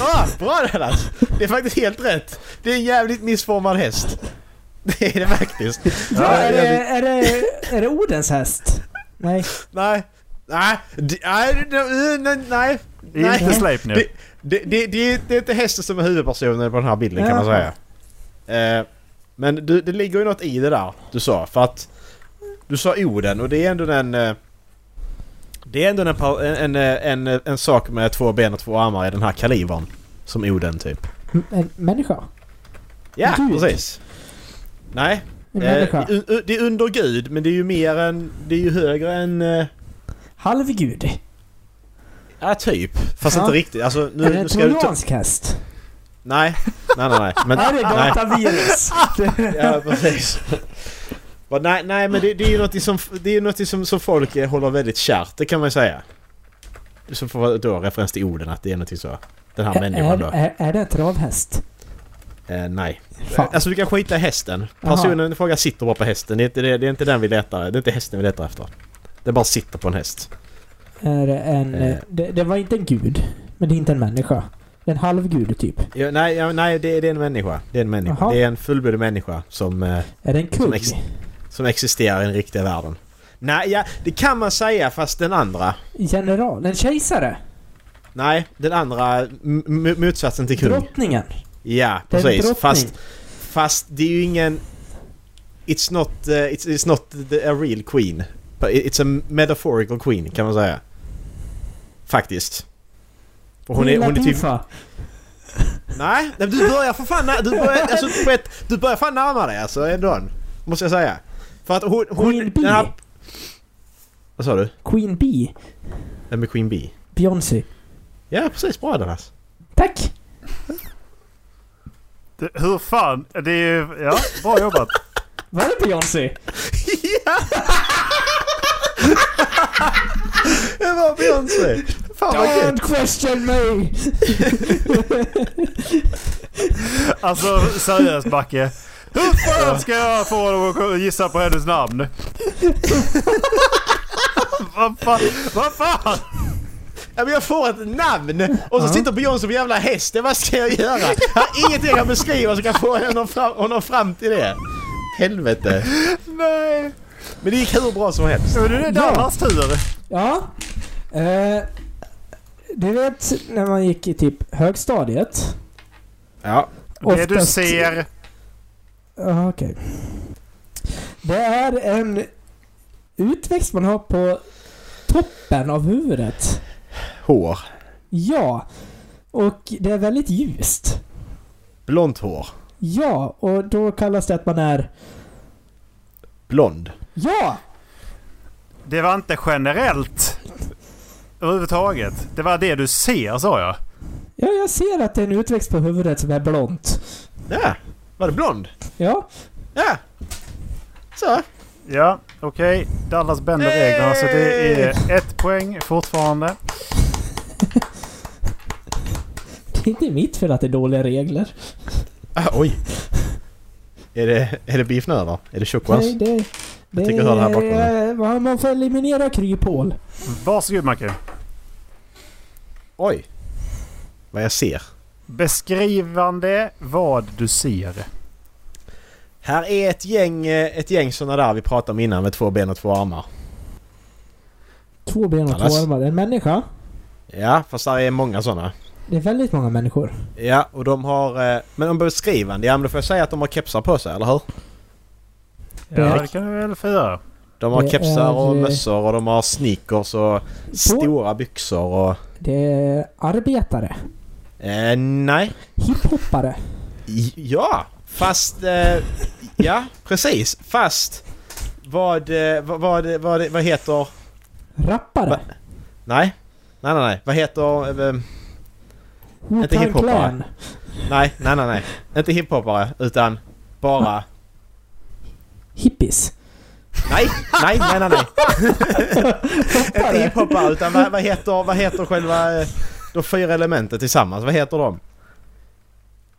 S2: Ah, bra Dallas! Det är faktiskt helt rätt. Det är en jävligt missformad häst. *laughs* Det är det faktiskt.
S3: Ja, är, det, är, det, är det Odens häst? Nej.
S2: Nej. Nej. Det- Nej. Nej. Nej. Nej.
S1: Inte
S2: Nej.
S1: Sleipner.
S2: Det, det, det, det är inte hästen som är huvudpersonen på den här bilden kan man
S3: Ja.
S2: säga. Eh, men du, det ligger ju något i det där du sa. För att du sa Oden och det är ändå den... eh, Det är ändå en, pa- en, en, en, en sak med två ben och två armar i den här kalibern. Som Oden typ.
S3: M- En människa?
S2: Ja,
S3: Gud.
S2: precis. Nej,
S3: En
S2: Eh,
S3: människa?
S2: u- u- det är under Gud, men det är ju mer än... Det är ju högre än... eh,
S3: Halvgud?
S2: Ja, typ. Fast
S3: Ja.
S2: inte riktigt. Alltså,
S3: är det
S2: nu, nu
S3: en
S2: ska du ta...
S3: trojansk häst?
S2: Nej. Nej, nej, nej.
S3: *laughs*
S2: Men,
S3: Är det
S2: nej. *laughs*
S3: datavirus?
S2: Ja, precis. Va, nej, nej, men det, det är ju något som, det är ju något som, som folk eh, håller väldigt kärt, det kan man ju säga. Som får vara då referens till orden, att det är något så. Den här människan
S3: är,
S2: då.
S3: är, är det en travhäst?
S2: Eh, nej.
S3: Fan.
S2: Alltså du kan skita i hästen. Personen i fråga sitter bara på hästen. Det är, inte, det, det är inte den vi letar Det är inte hästen vi letar efter. Det bara sitter på en häst.
S3: Är det en...
S2: Eh.
S3: eh, Det, det var inte en gud. Men det är inte en människa. Det är en halvgud typ.
S2: Ja, nej, ja, nej det, det är en människa. Det är en människa.
S3: Jaha.
S2: Det är en fullblodig människa som, eh,
S3: Är det en
S2: Som
S3: kung?
S2: ex- som existerar i den riktiga världen. Nej, ja, det kan man säga fast den andra.
S3: General? En kejsare?
S2: Nej, den andra m- m- motsatsen till kung.
S3: Drottningen?
S2: Ja,
S3: Det är en
S2: precis.
S3: drottning.
S2: Fast, fast det är ju ingen... It's not, eh, it's, it's not the, a real queen. But it- it's a metaphorical queen kan man säga. Faktiskt. Och hon är, hon är typ...
S3: Latifa.
S2: Nej, nej, du börjar för fan... Du börjar, alltså, på ett, du börjar fan närma dig alltså ändå. Måste jag säga. För att hon... hon
S3: Queen Bee?
S2: den här- Vad sa du?
S3: Queen Bee?
S2: Den med Queen Bee?
S3: Beyoncé?
S2: Ja, precis. Bra Dallas.
S3: Tack!
S1: Det, hur fan? Det är ju... Ja, bra jobbat.
S3: Var det Beyoncé?
S2: ja! Det var Beyoncé! Fan vad gött!
S3: Don't question me!
S1: Alltså seriöst Backe. Hur fan ska jag få honom att gissa på hennes namn? *laughs* Vad fan? Vad fan?
S2: Ja, men jag får ett namn och så
S3: Ja.
S2: sitter Beyoncé på en jävla häst. Det, Vad ska jag göra? Jag har ingenting jag kan beskriva som kan få honom fram, honom fram till det. Helvete.
S1: Nej.
S2: Men det gick hur bra som helst.
S1: Men det är Dallas tur.
S3: Ja. Eh, du vet när man gick i typ högstadiet?
S2: Ja.
S1: Det du
S3: Oftast-
S1: ser.
S3: Ja, okej. Det är en utväxt man har på toppen av huvudet.
S2: Hår.
S3: Ja. Och det är väldigt ljust.
S2: Blont hår.
S3: Ja, och då kallas det att man är...
S2: Blond.
S3: Ja!
S1: Det var inte generellt. Överhuvudtaget. Det var det du ser sa jag.
S3: Ja, jag ser att det är en utväxt på huvudet som är blont.
S2: Ja. Var det blond?
S3: Ja.
S2: Ja. Så.
S1: Ja, okej. Dallas bänder
S2: Hey!
S1: reglerna så det är ett poäng fortfarande.
S3: Det är inte mitt fel att det är dåliga regler.
S2: Ah, oj. Är det, är det beef nu eller? Är det tjockvass?
S3: Nej, det... det
S2: Jag tycker jag hör det här bakom
S3: är- vad Man får eliminera kryphål.
S1: Varsågod Macke.
S2: Oj. Vad jag ser.
S1: Beskrivande vad du ser.
S2: Här är ett gäng, eh, ett gäng såna där vi pratade om innan med två ben och två armar.
S3: Två ben och två
S2: Annars-
S3: armar. En människa.
S2: Ja, fast där är många såna.
S3: Det är väldigt många människor.
S2: Ja, och de har... eh, Men om beskrivande, ja men då får jag säga att de har kepsar på sig, eller hur?
S1: Ja,
S3: Erik.
S1: det kan du väl få göra.
S2: De har
S3: Det
S2: kepsar och
S3: är, eh,
S2: mössor och de har sneakers och stora byxor och...
S3: Det är arbetare.
S2: Eh, nej.
S3: Hiphoppare.
S2: J- Ja! Fast... Eh, ja, precis. Fast... Vad, eh, vad, vad, vad, vad heter...
S3: Rappare.
S2: Va? Nej. Nej, nej, nej. Vad heter... Eh, Inte
S3: Wu-Tang
S2: hiphoppare.
S3: Clan.
S2: nej, nej, nej, nej. Inte hiphoppare, utan bara...
S3: Hippies.
S2: Nej, nej, nej, nej, nej. Inte hiphopare utan vad, vad, heter, vad heter själva eh, de fyra elementen tillsammans? Vad heter de?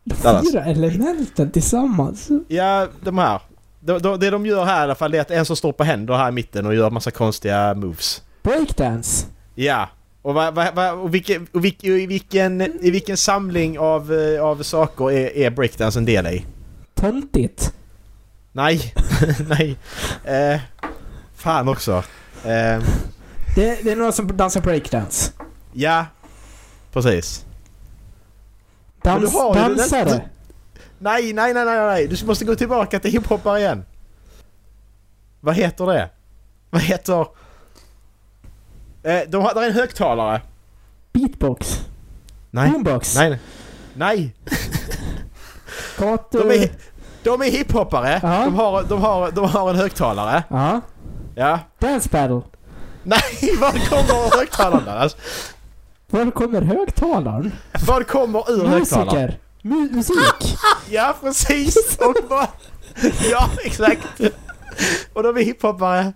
S3: De
S2: Dallas.
S3: fyra elementen tillsammans.
S2: Ja, de här. De, de, det de gör här i alla fall det är att en som står på händer här i mitten och gör massa konstiga moves.
S3: Breakdance.
S2: Ja. Och, va, va, va, och, vilken, och, vilken, och i, vilken, i vilken samling av, eh, av saker är, är breakdance en del i?
S3: Töntigt.
S2: Nej, *laughs* nej. Eh, fan också. Eh,
S3: Det, det är några som dansar breakdance.
S2: ja, precis. Men
S3: Dans,
S2: du har ju den-
S3: dansare.
S2: Nej, nej, nej, nej, nej! Du måste gå tillbaka till hiphopare igen! Vad heter det? Vad heter... Eh, de har, där är en högtalare.
S3: Beatbox. Boombox.
S2: nej, nej. Nej!
S3: Gatu...
S2: De är, de är hiphoppare.
S3: Ja.
S2: De, har, de, har, de har en högtalare.
S3: Ja.
S2: Ja.
S3: Dance battle.
S2: Nej, *laughs* vad kommer ur högtalaren annars?
S3: Var kommer högtalaren?
S2: Vad kommer ur högtalaren?
S3: Musiker. Mu- musik.
S2: Ja, precis! Och vad... Ja, exakt! Och de är hiphoppare.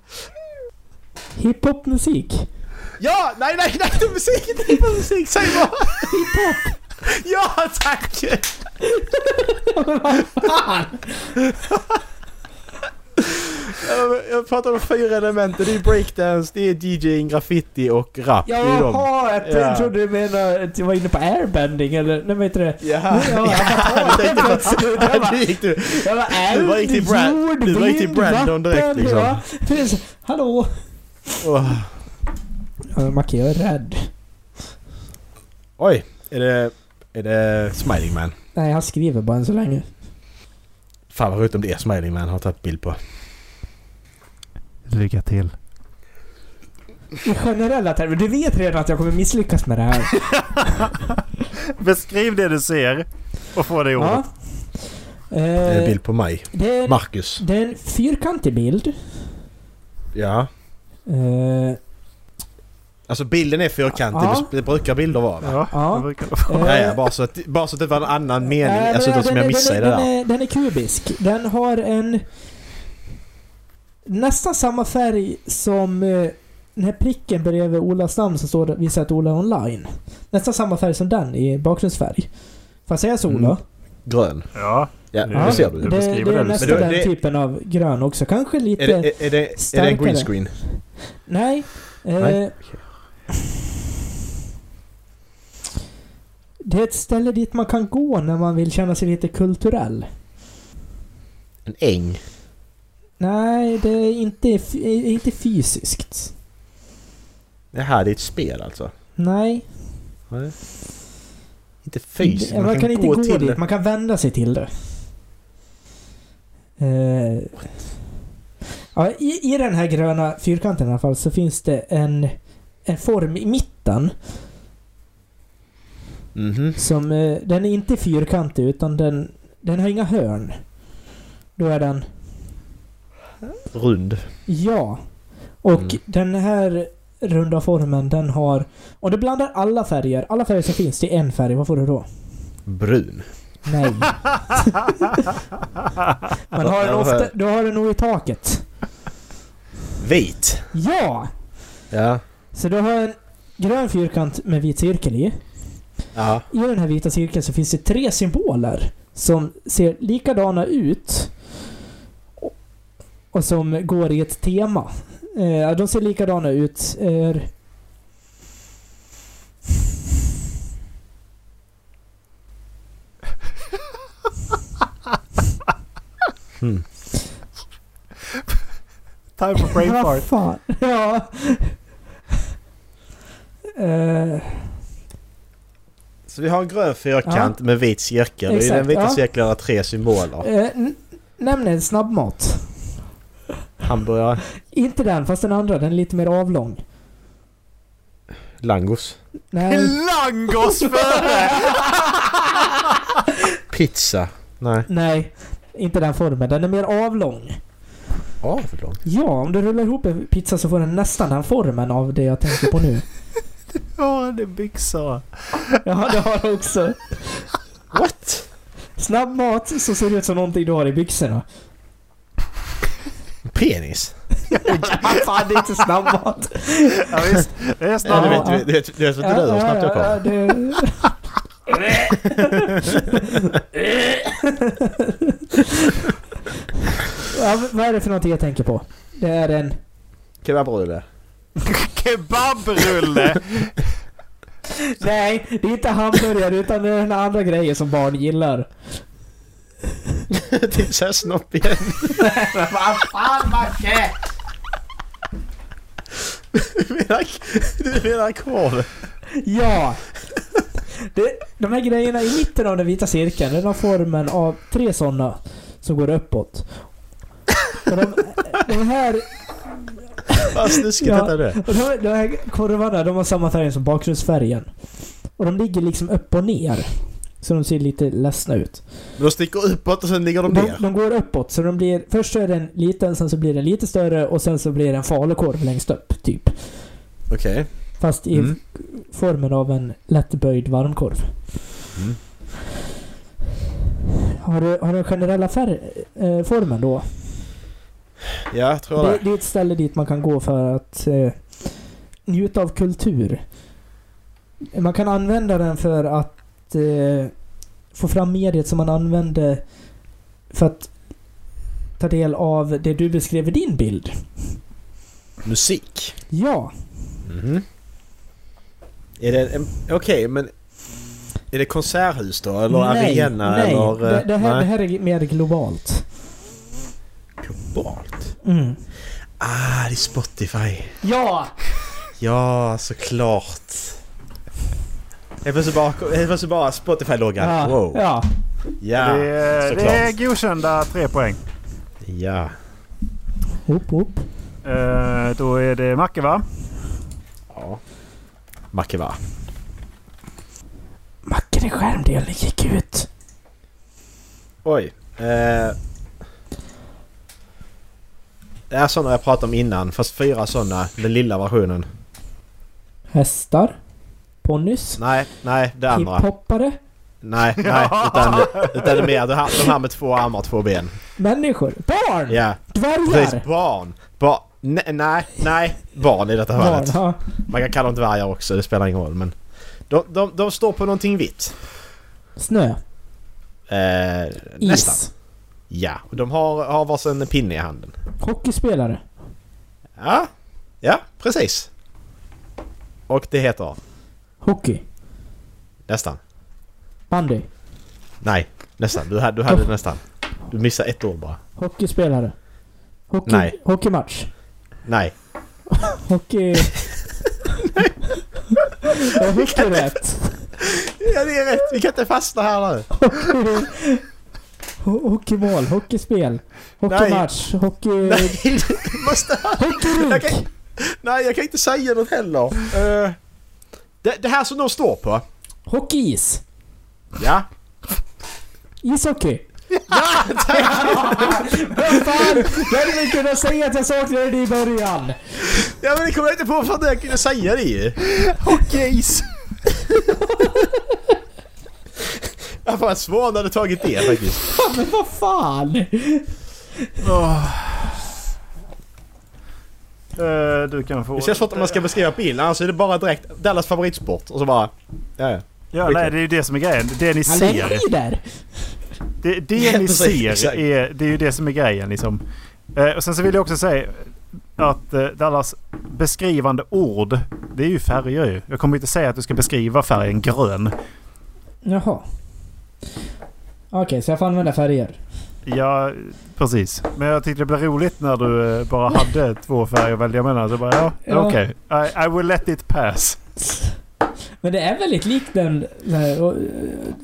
S3: Hiphop-musik.
S2: Ja! Nej, nej, nej! Det är musik! Det är inte musik! Säg bara! Hiphop! Ja, tack! Jag- Jag pratar om fyra element. Det är breakdance, det är DJing, graffiti och rap. Det är de.
S3: Jaha, jag
S2: Ja.
S3: trodde du menade att jag var inne på airbending eller... Nej, vad heter det?
S2: Jaha!
S3: Ja,
S2: Jag tänkte
S3: jag
S2: bara...
S3: bara-
S2: Nu gick du.
S3: Jag bara,
S2: Du var
S3: eld,
S2: riktigt Brand-
S3: jord,
S2: du var
S3: vind,
S2: riktigt Brandon direkt,
S3: vatten,
S2: liksom.
S3: ja. Precis. Hallå?
S2: Åh.
S3: Uh, Macke, jag är rädd.
S2: Oj! Är det... Är det Smiling Man?
S3: Nej, han skriver bara än så länge.
S2: Fan vad roligt om det är Smiling Man har tagit bild på.
S1: Lycka till.
S3: I generella termer. Du vet redan att jag kommer misslyckas med det
S2: *laughs*
S3: här.
S1: Beskriv det du ser och få det ordet.
S3: ja.
S2: Det är en
S3: Eh,
S2: bild på mig.
S3: det, är,
S2: Marcus.
S3: det är en fyrkantig bild.
S2: Ja.
S3: Eh,
S2: Alltså bilden är fyrkantig.
S3: Ja.
S2: Det brukar bilder vara va?
S1: Ja,
S3: Ja.
S1: det brukar det vara.
S3: eh,
S2: Ja, ja, bara, så att, bara så att det var en annan mening.
S3: Nej, men
S2: alltså utan som
S3: den
S2: jag
S3: är-
S2: missade i
S3: den
S2: det
S3: är-
S2: där.
S3: Den är, den är kubisk. Den har en... Nästan samma färg som eh, den här pricken bredvid Olas namn som står där- visar att Ola är online. Nästan samma färg som den i bakgrundsfärg. Får jag säga så
S2: Mm.
S3: Ola?
S2: Grön.
S1: Ja.
S2: Ja,
S1: Nu-
S2: nu ser du.
S1: nu
S2: det.
S3: det,
S1: beskriver
S3: det är
S1: du.
S3: nästan
S2: Men då-
S3: den
S2: det-
S3: typen av grön också. Kanske lite...
S2: Är det, är, är det, är det en
S3: starkare.
S2: green screen?
S3: Nej. Eh,
S2: Nej,
S3: Det är ett ställe dit man kan gå när man vill känna sig lite kulturell.
S2: En äng?
S3: Nej, det är inte, f- inte fysiskt.
S2: Det här är ett spel alltså?
S3: Nej.
S2: Nej. Inte fysiskt.
S3: Man, kan, inte gå, dit,
S2: det.
S3: man kan vända sig till det. Eh, ja, i, I den här gröna fyrkanten i alla fall så finns det en, en form i mitten.
S2: Mhm.
S3: Som, eh, den är inte fyrkantig utan den, den har inga hörn. Då är den
S2: Rund.
S3: Ja. Och
S2: Mm.
S3: den här runda formen den har... Och det blandar alla färger. Alla färger som finns till en färg. Vad får du då?
S2: Brun.
S3: Nej. Man har den
S2: Ja,
S3: ofta,
S2: här.
S3: du har den nog i taket.
S2: Vit.
S3: Ja!
S2: Ja.
S3: Så du har en grön fyrkant med vit cirkel i.
S2: Ja.
S3: I den här vita cirkeln så finns det tre symboler som ser likadana ut och- och som går i ett tema. Eh, de ser likadana ut. Eh,
S2: Mm.
S1: Time for brain fart.
S3: Vad fan? *laughs* Ja. Eh,
S2: Så vi har en grön fyrkant med vit cirkel. och I
S3: Exakt,
S2: den vita
S3: ja.
S2: cirkeln har tre symboler.
S3: eh, n- nämn en snabbmat.
S2: Hamburgare.
S3: Inte den, fast den andra. Den är lite mer avlång.
S2: Langos.
S3: Nej.
S1: Langos före!
S2: Pizza. Nej.
S3: Nej. Inte den formen. Den är mer avlång.
S2: Ja, för långt.
S3: Ja, om du rullar ihop en pizza så får den nästan den formen av det jag tänker på nu.
S1: Ja, det är byxor.
S3: *laughs* Ja, det har du också.
S2: What?
S3: Snabbmat så ser det ut som någonting du har i byxorna.
S2: Penis.
S3: Ah, Fan, det är inte snabbmat.
S1: Ja, visst. Det är
S2: Ja,
S1: snart.
S2: du
S3: Ja.
S2: vet, du vet, du vet inte du hur snabbt jag kom?
S3: det... ja, men vad är det för någonting jag tänker på? Det är en...
S2: *laughs* Kebabrulle.
S1: *laughs* Kebabrulle!
S3: Nej, det är inte hamburgare utan det är den andra grejen som barn gillar.
S2: Till såhär snopp *laughs* igen.
S3: Vad fan Macke!
S2: Du menar, du menar korv?
S3: Ja! Det, de här grejerna i mitten av den vita cirkeln, den har formen av tre sådana som går uppåt. Och de, de här
S2: Vad snuskigt
S3: Ja.
S2: detta nu.
S3: och de, de här korvarna, de har samma färg som bakgrundsfärgen. Och de ligger liksom upp och ner. Så de ser lite ledsna ut.
S2: Men De sticker uppåt och sen ligger de
S3: De,
S2: ner.
S3: de går uppåt, så de blir... Först så är den liten, sen så blir den lite större och sen så blir den falukorv längst upp, typ.
S2: Okej.
S3: Fast i
S2: Mm.
S3: formen av en lättböjd varmkorv.
S2: Mm.
S3: Har du, har du den generella färg, eh, formen då?
S2: Ja, jag tror
S3: Det,
S2: det.
S3: det är ett ställe dit man kan gå för att eh, njuta av kultur. Man kan använda den för att eh, få fram mediet som man använde för att ta del av det du beskrev i din bild.
S2: Musik.
S3: Ja,
S2: Mhm. Är det en... Okej, men... Är det konserthus då? Eller
S3: nej,
S2: arena?
S3: nej.
S2: Eller... eh,
S3: det, det, här, det
S2: nej.
S3: här är mer globalt.
S2: Globalt.
S3: Mm.
S2: Ah, det är Spotify.
S3: Ja!
S2: Ja, såklart. Helt plötsligt bara, helt plötsligt bara Spotify-loggan.
S3: Ja,
S2: wow. Ja.
S3: ja.
S2: Ja.
S1: det, är, det
S2: såklart.
S1: är godkända tre poäng.
S3: Upp, upp.
S1: Eh, då är det Macke va?
S2: Ja. Macke va?
S3: Macken i skärmdelen gick ut.
S2: Oj. Eh, det är sådana jag pratade om innan. Fast fyra sådana. Den lilla versionen.
S3: Hästar. Ponnys.
S2: Nej, nej. Det andra.
S3: Hiphoppare.
S2: Nej,
S3: *laughs*
S2: nej. Utan, utan det är mer de här, de här med två armar och två ben.
S3: Människor. Barn!
S2: Ja.
S3: Dvärgar!
S2: Precis. Barn. Ba nej, nej, nej. Barn i detta
S3: Barn,
S2: fallet.
S3: ja.
S2: Man kan kalla dem dvärgar också. Det spelar ingen roll. Men de, de, de står på någonting vitt.
S3: Snö.
S2: Eh,
S3: Is.
S2: nästan. Ja. Och de har, har varsin pinne i handen.
S3: Hockeyspelare.
S2: Ja. Ja, precis. Och det heter...
S3: Hockey.
S2: Nästan.
S3: Bandy.
S2: Nej, nästan. Du hade, du hade nästan. Du missade ett ord bara.
S3: Hockeyspelare. Hockey,
S2: Nej.
S3: Hockeymatch.
S2: Nej. *laughs*
S3: Hockey... Jag fick ju rätt.
S2: Ja, det är rätt. Vi kan inte fastna här nu.
S3: Ho- Hockeymål. Hockeyspel. Hockeymatch. Hockey...
S2: Nej, du *laughs* måste... *laughs* Jag
S3: Hockeyrink.
S2: kan, nej, jag kan inte säga något heller. Eh, det, det här som de står på.
S3: Hockeyis.
S2: Ja.
S3: Ishockey.
S2: Ja, tack!
S3: Vad fan! Jag hade väl kunnat säga att jag saknade det i början.
S2: Ja, men det kommer jag inte på för att jag kunde säga det ju.
S1: Hockeyis!
S2: Ja, fan, Svan hade tagit det faktiskt.
S3: Men vad fan!
S1: Eh, du kan få...
S2: Det känns svårt om man ska beskriva bilden. Annars är det bara direkt Dallas favoritsport och så bara... Ja, ja.
S1: Ja, nej, det är ju det som är grejen. Det ni
S3: Han lägger
S1: ser.
S3: i där.
S1: Det, det
S2: Ja,
S1: ni
S2: precis,
S1: ser
S2: exakt.
S1: är, det är ju det som är grejen liksom. Eh, och sen så vill jag också säga att eh, Dallas beskrivande ord, det är ju färger ju. Jag kommer inte säga att du ska beskriva färgen grön.
S3: Jaha. Okej, så jag får använda färger.
S1: Ja, precis. Men jag tyckte det blev roligt när du eh, bara hade två färger att välja mellan. Så bara, ja,
S3: Ja.
S1: okej. I, I will let it pass.
S3: Men det är väldigt likt den där, och, eh,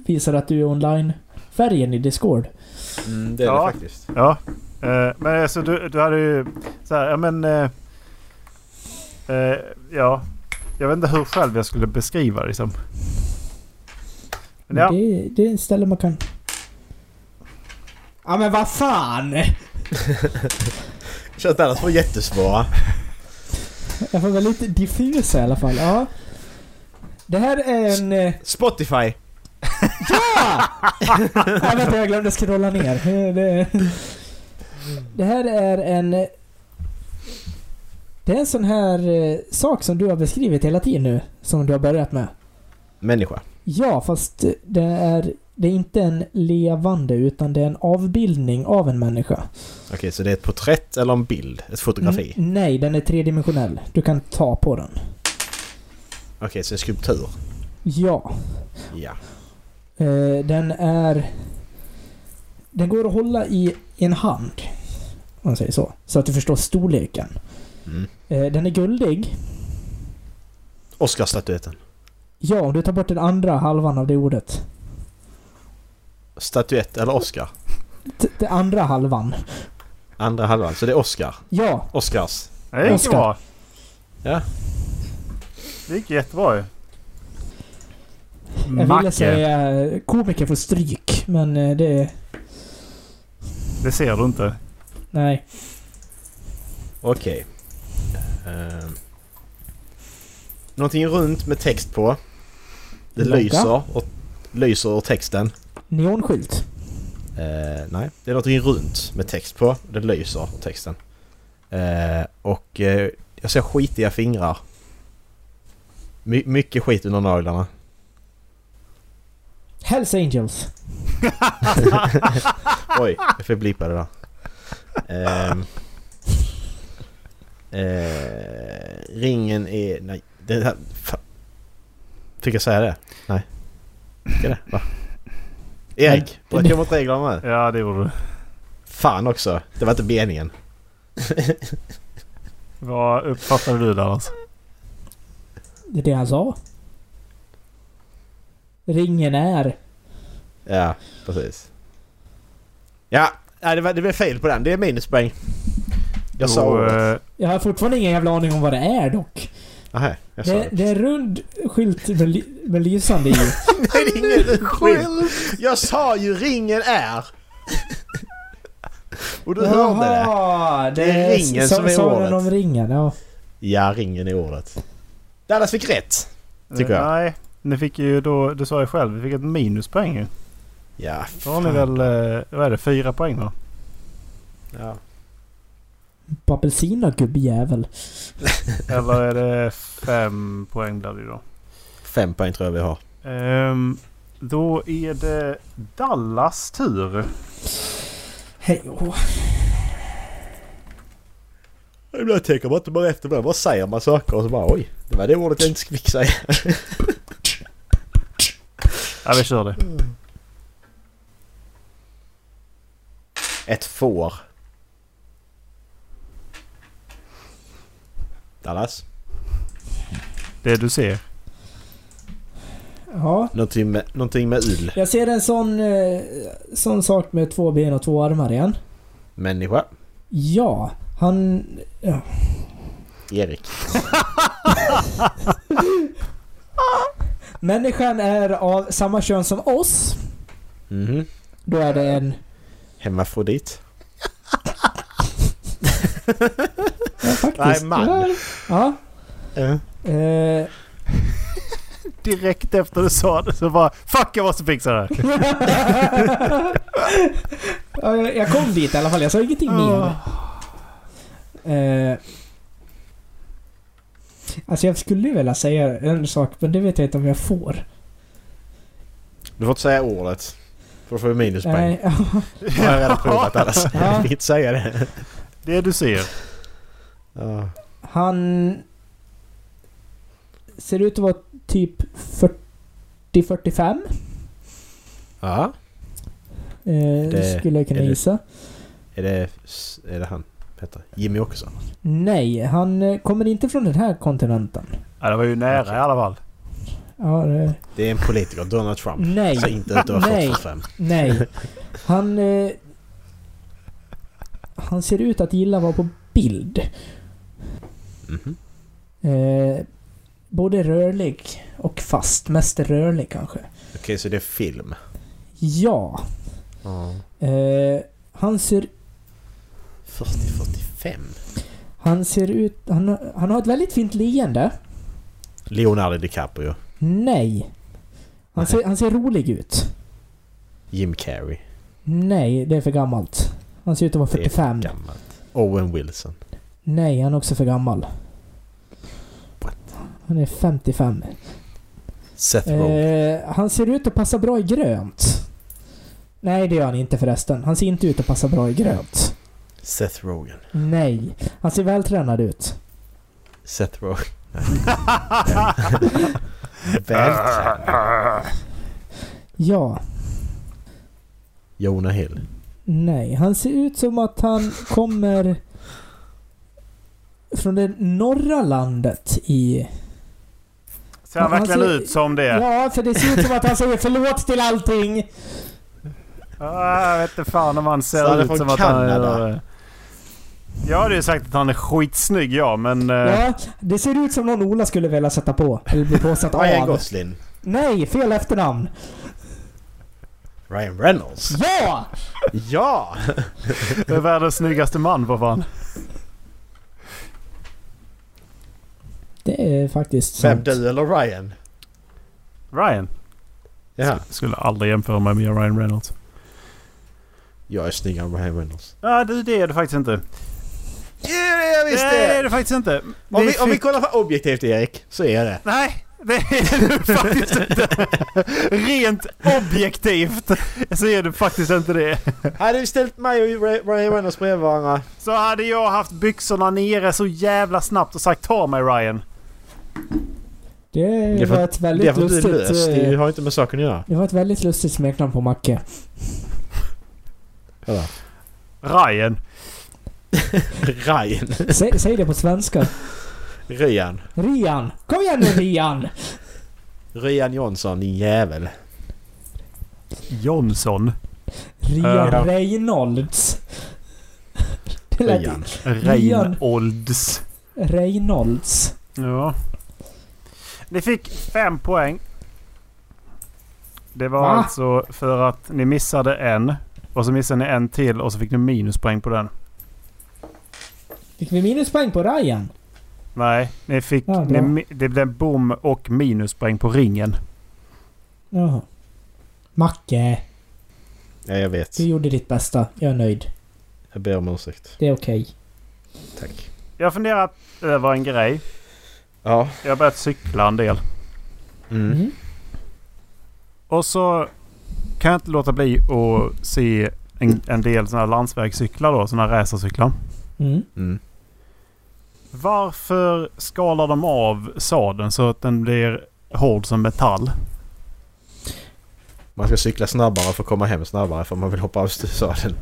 S3: visar att du är online-färgen i Discord.
S2: Mm, det
S1: är det Ja.
S2: faktiskt.
S1: Ja. Eh, men alltså du, du hade ju så här, ja men... eh, eh, ja. Jag vet inte hur själv jag skulle beskriva det liksom. Men ja.
S3: Det, det är en ställe man kan... Ja men vad fan!
S2: Känns Dallas var jättesvåra.
S3: Jag får väl lite diffus i alla fall. Ja. Det här är en... eh,
S2: Spotify.
S3: Ja! Nej, vänta, jag glömde scrolla ner. Det, det här är en... Det är en sån här eh, sak som du har beskrivit hela tiden nu, som du har börjat med.
S2: Människa.
S3: Ja, fast det är, det är inte en levande, utan det är en avbildning av en människa.
S2: Okej, så det är ett porträtt eller en bild? Ett fotografi?
S3: N- nej, den är tredimensionell. Du kan ta på den.
S2: Okej, så en skulptur?
S3: Ja.
S2: Ja.
S3: Eh, den är... Den går att hålla i en hand. Om man säger så. Så att du förstår storleken.
S2: Mm.
S3: Eh, den är guldig.
S2: Oscarsstatyetten.
S3: Ja, om du tar bort den andra halvan av det ordet.
S2: Statyett eller Oscar?
S3: T- Den andra halvan.
S2: Andra halvan. Så det är Oscar.
S3: Ja,
S2: Oscars.
S1: Det gick ju
S3: Oscar.
S1: bra.
S2: Ja.
S1: Det gick jättebra ju.
S3: jag ville
S1: Macke,
S3: säga eh, komiker får stryk, men eh, det...
S1: det ser du inte.
S3: Nej.
S2: Okej. Ehm. Någonting runt med text på. Det
S3: Logga.
S2: lyser och, lyser och texten.
S3: Neonskylt.
S2: Eh, nej, det är någonting runt med text på. Det lyser och texten. Eh, och eh, jag ser skitiga fingrar. My- mycket skit under naglarna. *laughs*
S3: Hells Angels.
S2: Oj, jag fick blipa det där. Ehm. Eh, ringen är... Nej, det här... Fan. Fick jag säga det? Nej. Fick jag det? Va? Erik, bröt jag mot reglerna nu?
S1: Ja, det gjorde du.
S2: Fan också, det var inte meningen.
S1: Vad uppfattade du alltså? Dallas?
S3: Det är det han sa. Ringen är...
S2: Ja, precis. Ja, nej, det, var, det blev fel på den. Det är minuspoäng. Jag sa
S1: Då,
S2: ordet.
S1: eh,
S3: Jag har fortfarande ingen jävla aning om vad det är dock.
S2: Nej, jag sa
S3: Det,
S2: det. *laughs*
S3: det är en rund skylt med, ly- med lysande i.
S2: Det är ingen skylt. Jag sa ju ringen *laughs* är. Och *laughs* du hörde det.
S3: Jaha,
S2: Det är ringen
S3: sa-
S2: som är
S3: sa den
S2: året.
S3: om ringen, ja.
S2: Ja, ringen är ordet. Dallas fick rätt. Tycker
S1: eh,
S2: jag.
S1: Nej, ni fick ju då, du sa ju själv, vi fick ett minuspoäng ju.
S2: Ja,
S1: Då har ni väl, eh, vad är det, fyra poäng då?
S2: ja.
S3: På apelsin och gubbjävel.
S1: Eller är det fem poäng blir det ju då?
S2: Fem poäng tror jag vi har.
S1: Ehm, då är det Dallas tur.
S3: Hej åh.
S2: Ibland tänker man inte bara efter men Vad säger man saker och så bara oj. Det var det ordet jag inte fick säga.
S1: Ja, vi kör
S3: Mm.
S1: det.
S2: Ett får. Dallas.
S1: Det du ser.
S3: Ja.
S2: Någonting med, någonting med ull.
S3: Jag ser en sån, eh, sån sak med två ben och två armar igen.
S2: Människa.
S3: Ja, han... Ja.
S2: Erik.
S3: Människan är av samma kön som oss.
S2: Mhm.
S3: Då är det en...
S2: Hemmafrodit.
S3: Ja, faktiskt.
S2: Nej, man.
S3: Ja. Eh, *laughs*
S1: Direkt efter du sa det så bara Fuck jag måste fixa det här.
S3: Ja, jag- jag kom dit i alla fall, jag sa ingenting mer. Eh, alltså jag skulle ju vilja säga en sak, men det vet jag inte om jag får.
S2: Du får inte säga ordet. För då får vi minuspoäng.
S3: Nej,
S2: Det har *laughs* jag redan provat annars.
S3: *laughs* Ja.
S2: Du fick inte säga det.
S1: Det du ser.
S2: Ja.
S3: han ser ut att vara typ 40-45.
S2: ja.
S3: Eh,
S2: Det-
S3: skulle jag kunna
S2: är det-
S3: gissa.
S2: Är det, är det han? Peter? Jimmy Åkesson?
S3: Nej, han eh, kommer inte från den här kontinenten.
S1: Ja, det var ju nära i alla fall.
S3: Ja, det,
S2: Det är en politiker. Donald Trump.
S3: nej.
S2: Säg inte att du har
S3: Nej.
S2: fått för fem.
S3: Nej. Han... Eh, han ser ut att gilla att vara på bild.
S2: Mhm.
S3: Eh, både rörlig och fast. Mest rörlig kanske.
S2: Okej, så det är film.
S3: Ja.
S2: Ja.
S3: Eh, han ser...
S2: 40-45.
S3: Han ser ut... Han, har- han har ett väldigt fint leende.
S2: Leonardo DiCaprio.
S3: Nej. Han ser, han ser rolig ut.
S2: Jim Carrey.
S3: Nej, det är för gammalt. Han ser ut att vara
S2: Det är
S3: 45.
S2: Gammalt. Owen Wilson.
S3: Nej, han är också för gammal. Han är 55.
S2: Seth Rogen.
S3: Eh, han ser ut att passa bra i grönt. Nej, det gör han inte förresten. Han ser inte ut att passa bra i grönt.
S2: Seth Rogen.
S3: Nej. Han ser vältränad ut.
S2: Seth *laughs* Rogen. Vältränad.
S3: Ja.
S2: Jonah Hill.
S3: Nej. Han ser ut som att han kommer från det norra landet i
S1: Ser han
S3: Men han
S1: verkligen
S3: ser-
S1: ut som det?
S3: Alltså, Ja, för det ser ut som att han säger förlåt till allting.
S1: Ah, jag vet inte fan om han
S2: Så han
S1: ser
S2: är
S1: ut
S2: från
S1: som att han
S2: Kanada.
S1: är... Jag hade ju sagt att han är skitsnygg ja, men... eh,
S3: Ja, det ser ut som någon Ola skulle vilja sätta på. Eller bli påsatt
S2: Ryan
S3: av.
S2: Gosling.
S3: Nej, fel efternamn.
S2: Ryan Reynolds.
S3: Ja!
S2: Ja!
S1: Det är världens snyggaste man vad fan.
S3: Det är faktiskt
S2: Vem
S3: sant.
S2: du eller Ryan?
S1: Ryan.
S2: Ja.
S1: Skulle aldrig jämföra mig med Ryan Reynolds.
S2: Jag är snyggare än Ryan Reynolds.
S1: Ja du, det är det faktiskt inte.
S2: Ja, det är jag visst
S1: Nej, det är
S2: det!
S1: det faktiskt inte.
S2: Om
S1: Vi
S2: vi, om vi
S1: fick-
S2: kollar på objektivt Erik, så
S1: *laughs*
S2: är det.
S1: Nej, det är det *laughs* faktiskt inte. Rent objektivt så är det faktiskt inte det.
S2: Hade vi ställt mig och Ra- Ryan Reynolds bredvid varandra.
S1: Så hade jag haft byxorna nere så jävla snabbt och sagt ta mig Ryan.
S3: Det,
S2: Det är för-
S3: var ett
S2: Det är
S3: väldigt
S2: för att du är lös.
S3: lustigt...
S2: Det
S3: eh,
S2: har inte med saken att göra.
S3: Det var ett väldigt lustigt smeknamn på Macke.
S2: Eller?
S1: Ryan.
S2: Ryan.
S3: Säg, säg det på svenska.
S2: Ryan.
S3: Rian! Kom igen nu Rian!
S2: Ryan Johnson, din jävel.
S1: Jonsson.
S3: Rian
S1: Eh.
S3: Reynolds. Det lät-
S2: Ryan.
S3: Ryan.
S1: Reynolds.
S3: Reynolds.
S1: Ja. Ni fick fem poäng. Det var
S3: Va?
S1: alltså för att ni missade en. Och så missade ni en till och så fick ni minuspoäng på den.
S3: Fick vi minuspoäng på Ryan?
S1: Nej, ni fick,
S3: Ja, bra.
S1: ni, mi- det blev bom och minuspoäng på ringen.
S3: Jaha. Macke,
S2: Ja, jag vet.
S3: du gjorde ditt bästa. Jag är nöjd.
S2: Jag ber om ursäkt.
S3: Det är okej.
S2: Tack.
S1: Jag har funderat över en grej.
S2: Ja.
S1: Jag har börjat cykla en del.
S2: Mm.
S3: Mm.
S1: Och så kan jag inte låta bli att se en, en del sådana här landsvägscyklar då. Sådana här racercyklar.
S3: Mm.
S2: Mm.
S1: Varför skalar de av sadeln så att den blir hård som metall?
S2: Man ska cykla snabbare för att komma hem snabbare för man vill hoppa av sadeln.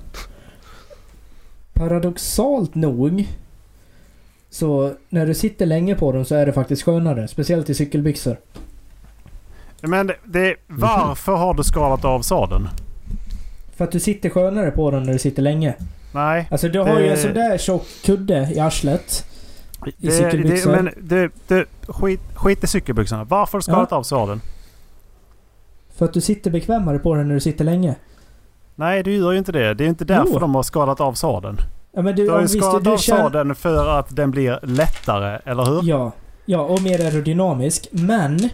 S3: Paradoxalt nog så när du sitter länge på dem så är det faktiskt skönare. Speciellt i cykelbyxor.
S1: Men det, det,
S3: Mhm.
S1: varför har du skalat av sadeln?
S3: För att du sitter skönare på dem när du sitter länge.
S1: Nej.
S3: Alltså du har ju en
S1: Det-
S3: sån där tjock kudde i arslet. I
S1: Det, det,
S3: cykelbyxor.
S1: men det, det, skit, skit i cykelbyxorna. Varför har du skalat
S3: Ja.
S1: av sadeln?
S3: För att du sitter bekvämare på den när du sitter länge.
S1: Nej, du gör ju inte det. Det är ju inte därför
S3: Jo.
S1: de har skalat av sadeln.
S3: Ja men du,
S1: Du har
S3: ja,
S1: ju
S3: visst, du,
S1: skalat
S3: du
S1: av
S3: känner-
S1: sadeln för att den blir lättare, eller hur?
S3: Ja. Ja, och mer aerodynamisk. Men...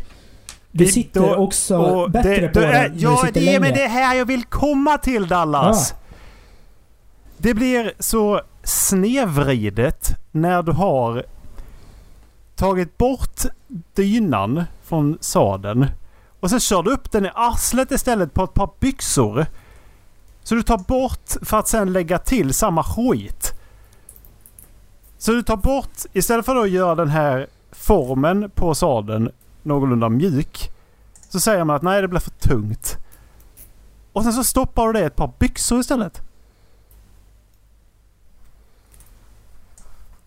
S3: Du
S1: Det-
S3: sitter
S1: då-
S3: också
S1: Och
S3: bättre
S1: det,
S3: på
S1: det
S3: den
S1: är-
S3: när du
S1: Ja,
S3: sitter
S1: det är
S3: länge.
S1: med det här jag vill komma till Dallas. Det blir så snedvridet när du har tagit bort dynan från sadeln och sen kör du upp den i arslet istället på ett par byxor. Så du tar bort för att sen lägga till samma skit. Så du tar bort, istället för att göra den här formen på sadeln någorlunda mjuk. Så säger man att nej det blir för tungt. Och sen så stoppar du det i ett par byxor istället.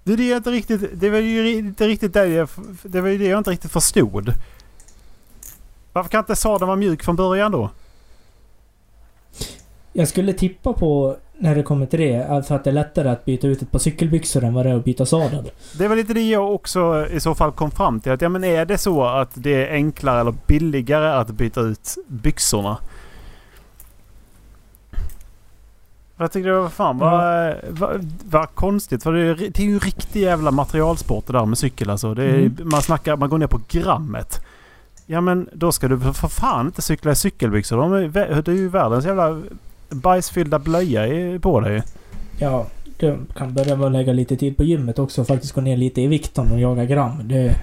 S1: Det är det jag inte riktigt... Det var ju inte riktigt det jag... Det var ju det jag inte riktigt förstod. Varför kan inte sadeln vara mjuk från början då?
S3: Jag skulle tippa på, när det kommer till det, alltså att det är lättare att byta ut ett par cykelbyxor än vad det är att byta sadel.
S1: Det var lite det jag också i så fall kom fram till. Att ja men är det så att det är enklare eller billigare att byta ut byxorna? Jag tyckte det var fan vad, vad, vad konstigt. För det är, det är ju en riktig jävla materialsport det där med cykel alltså. Det är,
S3: Mm.
S1: Man snackar, man går ner på grammet. Ja men då ska du för- för fan inte cykla i cykelbyxor. De är, vä- det är ju världens jävla bajsfyllda blöja i- på dig. *laughs*
S3: Ja, du kan börja med att lägga lite tid på gymmet också och faktiskt gå ner lite i vikt om de jagar gram. Det,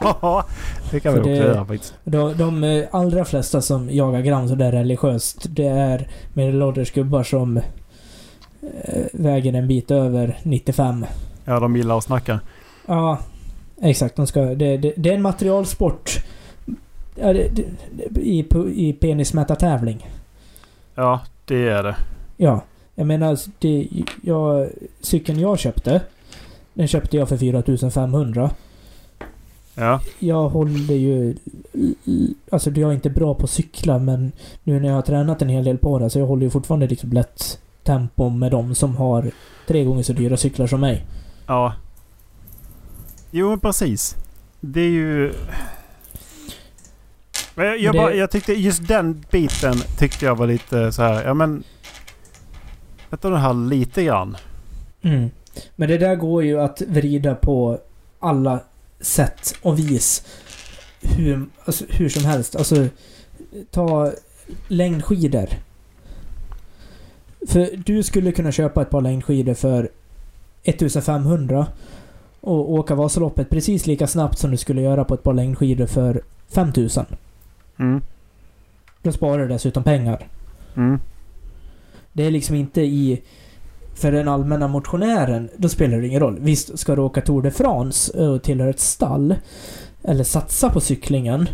S1: Ja, det kan vi
S3: För
S1: också
S3: det-
S1: göra faktiskt.
S3: de, de eh, allra flesta som jagar gram så där religiöst, det är medelålders gubbar som eh, väger en bit över 95.
S1: Ja, de gillar att snacka.
S3: Ja, exakt. De ska, det, det, det är en materialsport. Ja, det, det, det, I pu- i penismätartävling.
S1: Ja, det är det.
S3: Ja. Jag menar, det, jag, cykeln jag köpte. Den köpte jag för 4500.
S1: Ja.
S3: Jag håller ju... Alltså jag är inte bra på att cykla men nu när jag har tränat en hel del på det så jag håller ju fortfarande liksom lätt tempo med de som har tre gånger så dyra cyklar som mig.
S1: Ja. Jo, men precis. Det är ju... Men Jag, jag,
S3: Det-
S1: bara, jag tyckte just den biten tyckte jag var lite så här. Ja men... Vänta den här lite grann.
S3: Mm. Men det där går ju att vrida på alla sätt och vis. Hur, alltså, hur som helst. Alltså, ta längdskidor. För du skulle kunna köpa ett par längdskidor för 1500 och åka Vasaloppet precis lika snabbt som du skulle göra på ett par längdskidor för 5000.
S1: Mm.
S3: Då sparar du dessutom pengar.
S1: Mm.
S3: Det är liksom inte i... För den allmänna motionären, då spelar det ingen roll. Visst, ska du åka Tour de France och tillhör ett stall, eller satsa på cyklingen,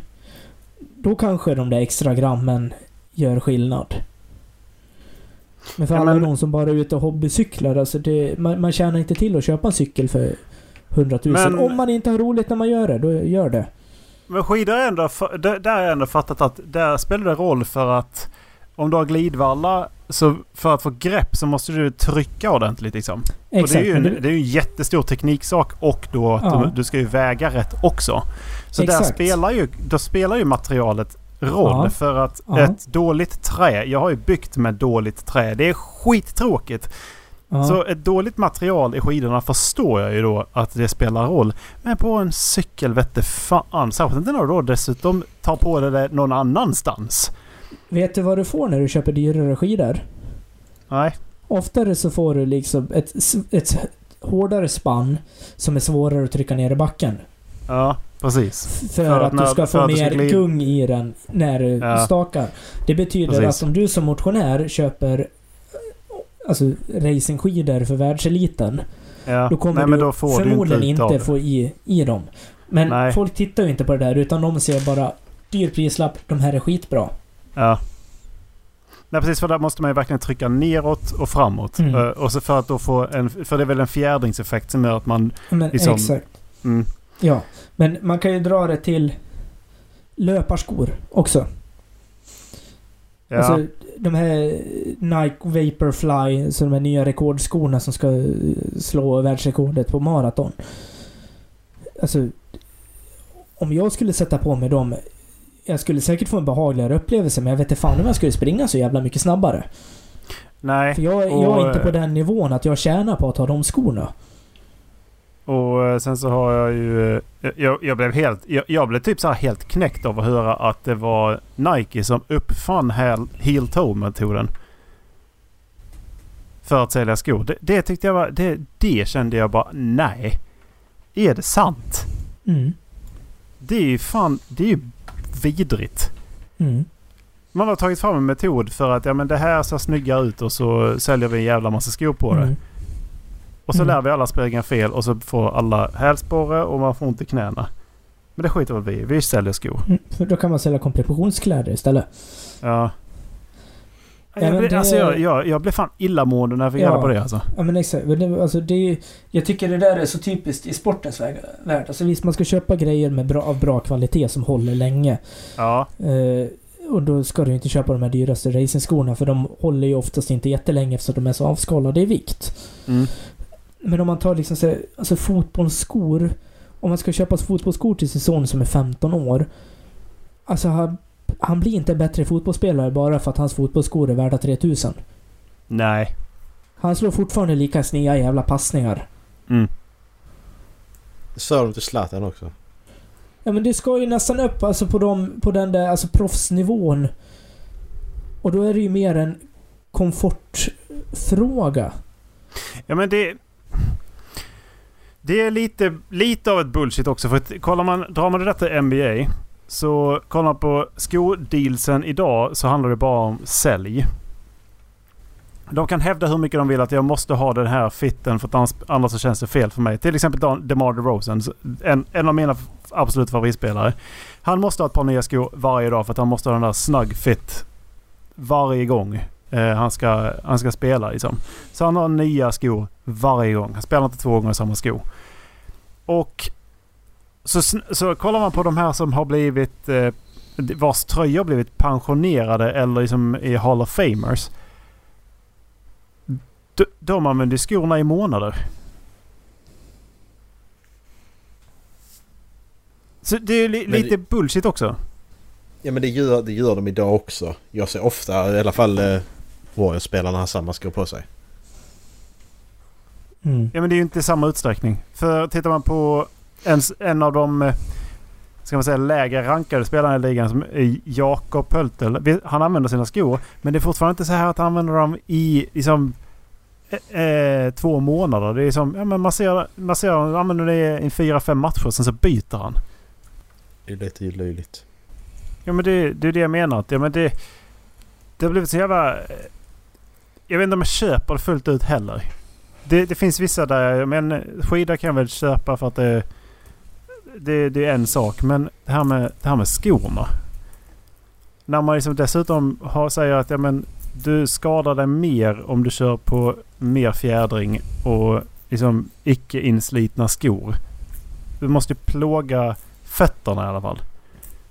S3: då kanske de där extra grammen gör skillnad. Men för
S1: Ja,
S3: alla
S1: men-
S3: de som bara är ute och hobbycyklar, alltså det, man, man tjänar inte till att köpa en cykel för 100 000.
S1: Men-
S3: Om man inte har roligt när man gör det, då gör det.
S1: Men skidor är ändå... fa- Där där har jag ändå fattat att där spelar det roll för att... Om du har glidvalla så för att få grepp så måste du trycka ordentligt liksom. Och det, är ju
S3: men
S1: en,
S3: du-
S1: det är ju en jättestor tekniksak och då att
S3: Ja.
S1: du, du ska ju väga rätt också. Så där
S3: Exakt.
S1: spelar ju, då spelar ju materialet roll
S3: Ja.
S1: för att
S3: Ja.
S1: ett dåligt trä, jag har ju byggt med dåligt trä, det är skittråkigt.
S3: ja.
S1: Så ett dåligt material i skidorna förstår jag ju då att det spelar roll. Men på en cykel vette fan, särskilt inte när du då dessutom tar på dig det någon annanstans.
S3: Vet du vad du får när du köper dyrare skidor?
S1: Nej.
S3: Oftare så får du liksom ett, s- ett hårdare spann som är svårare att trycka ner i backen.
S1: Ja, precis.
S3: För,
S1: För
S3: att,
S1: att när-
S3: du ska
S1: för
S3: få
S1: att du
S3: mer
S1: ska glida-
S3: gung i den när du
S1: Ja.
S3: stakar. Det betyder
S1: Precis.
S3: att om du som motionär köper eh, alltså, racingskidor för världseliten.
S1: Ja.
S3: Då kommer
S1: Nej,
S3: du,
S1: men då får du inte,
S3: förmodligen
S1: ut
S3: inte,
S1: av det.
S3: få i, i dem. Men
S1: Nej.
S3: folk tittar ju inte på det där utan de ser bara dyr prislapp, de här är skitbra.
S1: Ja. Nej precis, för där måste man ju verkligen trycka neråt och framåt.
S3: Mm.
S1: Eh, och så för att då få en... För det är väl en fjädringseffekt som gör att man...
S3: Men
S1: Liksom-
S3: exakt.
S1: Mm,
S3: Ja, men man kan ju dra det till löparskor också.
S1: ja.
S3: Alltså de här Nike Vaporfly, så de här nya rekordskorna som ska eh, slå världsrekordet på maraton. Alltså, om jag skulle sätta på mig dem, jag skulle säkert få en behagligare upplevelse men jag vet inte fan om jag skulle springa så jävla mycket snabbare.
S1: Nej.
S3: För jag, jag
S1: Och,
S3: är inte på
S1: eh,
S3: den nivån att jag tjänar på att ha de skorna.
S1: Och eh, sen så har jag ju... eh, Jag, jag blev helt... Jag, jag blev typ så här helt knäckt av att höra att det var Nike som uppfann heel, heel toe-metoden. För att sälja skor. Det, det tyckte jag var... Det, det kände jag bara... Nej. Är det sant?
S3: Mm,
S1: Det är ju fan... Det är ju vidrigt.
S3: mm,
S1: Man har tagit fram en metod för att ja, men det här ser snygga ut och så säljer vi en jävla massa skor på det.
S3: mm.
S1: Och så
S3: Mm.
S1: lär vi alla springa fel och så får alla hälsporre och man får ont i knäna. Men det skiter väl vi i. Vi säljer skor.
S3: Mm, För då kan man sälja kompressionskläder istället.
S1: Ja.
S3: Ja,
S1: Jag
S3: men
S1: blir,
S3: det-
S1: alltså, jag, jag, jag blev fan illamående när jag fick
S3: Ja.
S1: reda på det alltså.
S3: Ja men exakt. Men det, alltså det, är- jag tycker det där är så typiskt i sportens väg- värld. Alltså visst, man ska köpa grejer med bra, av bra kvalitet som håller länge.
S1: Ja.
S3: Eh, och då ska du inte köpa de här dyraste racingskorna för de håller ju oftast inte jättelänge eftersom de är så avskalade i vikt.
S1: Mm.
S3: Men om man tar liksom så, här, alltså fotbollsskor. Om man ska köpa fotbollsskor till sin son som är 15 år. Alltså han, han blir inte en bättre fotbollsspelare bara för att hans fotbollsskor är värda 3000.
S1: Nej.
S3: Han slår fortfarande lika sneda jävla passningar.
S1: Mm.
S2: Sa de till Zlatan också?
S3: Ja men det ska ju nästan upp alltså på, de, på den där alltså proffsnivån. Och då är det ju mer en komfortfråga.
S1: Ja men det... Det är lite, lite av ett bullshit också. För att kollar man, drar man det där till NBA. Så kollar man på skodealsen idag så handlar det bara om sälj. De kan hävda hur mycket de vill att jag måste ha den här fitten för att annars, annars så känns det fel för mig. Till exempel Dan- DeMar DeRozan, en, en av mina f- absoluta favoritspelare. Han måste ha ett par nya skor varje dag för att han måste ha den där snug fit varje gång eh, han, ska, han ska spela. Liksom. Så han har nya skor varje gång. Han spelar inte två gånger samma sko. Och Så, sn- så kollar man på de här som har blivit... Eh, vars tröjor blivit pensionerade eller liksom i Hall of Famers. De, de använder skorna i månader. Så det är li,
S2: Men
S1: lite bullshit också.
S2: Ja men det gör, det gör de idag också. Jag ser ofta i alla fall eh, Warriors-spelarna har samma skor på sig.
S3: Mm.
S1: Ja men det är ju inte i samma utsträckning. För tittar man på en, en av de eh, ska man säga, lägre rankade spelarna i ligan som är Jakob Pöltel. Vi- Han använder sina skor. Men det är fortfarande inte så här att han använder dem i liksom, eh, eh, två månader. Det är som, ja men man ser, man ser han använder det i fyra, fem matcher. Sen så byter han.
S2: Det är lite löjligt.
S1: Ja men det, det är det jag menar. Att, Ja, men det, det har blivit så jävla... eh, Jag vet inte om jag köper det fullt ut heller. Det, det finns vissa där, men skida kan jag väl köpa för att det, det, det är en sak. Men det här med, det här med skorna. När man liksom dessutom har, säger att ja, men du skadar dig mer om du kör på mer fjädring och liksom icke inslitna skor. Du måste ju plåga fötterna i alla fall.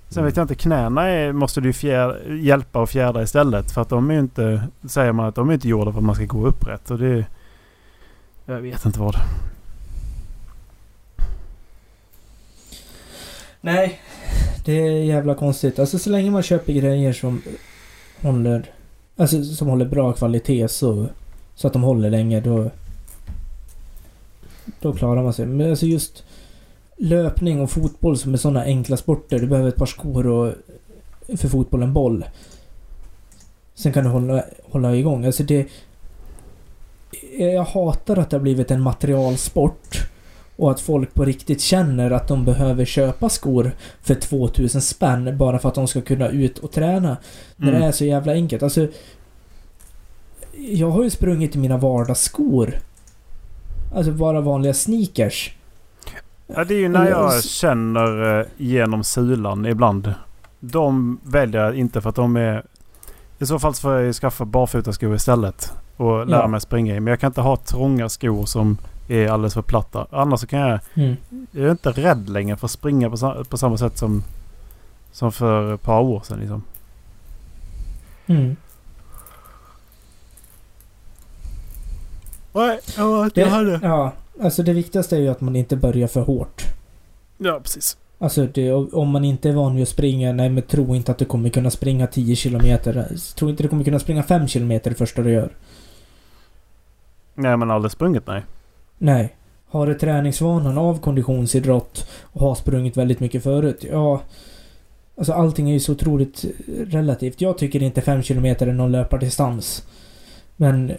S1: Sen vet jag inte, knäna är, måste du ju fjär, hjälpa och fjärda istället. För att de är ju inte, säger man att de är inte gjorda för att man ska gå upprätt. Och det... Jag vet inte vad.
S3: Nej, det är jävla konstigt. Alltså så länge man köper grejer som håller, alltså, som håller bra kvalitet så, så att de håller länge då, då klarar man sig. Men alltså just löpning och fotboll som är sådana enkla sporter. Du behöver ett par skor och för fotboll en boll. Sen kan du hålla, hålla igång. Alltså det... Jag hatar att det har blivit en materialsport. Och att folk på riktigt känner att de behöver köpa skor för 2000 spänn bara för att de ska kunna ut och träna. När
S1: Mm.
S3: det är så jävla enkelt. Alltså, jag har ju sprungit i mina vardagsskor. Alltså bara vanliga sneakers.
S1: Ja, det är ju när
S3: Mm.
S1: jag känner eh, genom sulan ibland. De väljer jag inte för att de är... I så fall så får jag ju skaffa barfotaskor istället. Och lära
S3: Ja.
S1: mig springa i. Men jag kan inte ha trånga skor som är alldeles för platta. Annars så kan jag...
S3: Mm.
S1: Jag är inte rädd längre för att springa på, sa- på samma sätt som, som för ett par år sedan liksom.
S3: Mm.
S1: Nej, jag var
S3: Det- Ja, alltså det viktigaste är ju att man inte börjar för hårt.
S1: Ja, precis.
S3: Alltså det, om man inte är van vid att springa, nej men tro inte att du kommer kunna springa 10 kilometer. Tro inte du kommer kunna springa 5 kilometer det första du gör.
S1: Nej, men aldrig sprungit nej.
S3: Nej. Har du träningsvanan av konditionsidrott och har sprungit väldigt mycket förut, ja... Alltså allting är ju så otroligt relativt. Jag tycker inte 5 kilometer är någon löpardistans. Men... eh,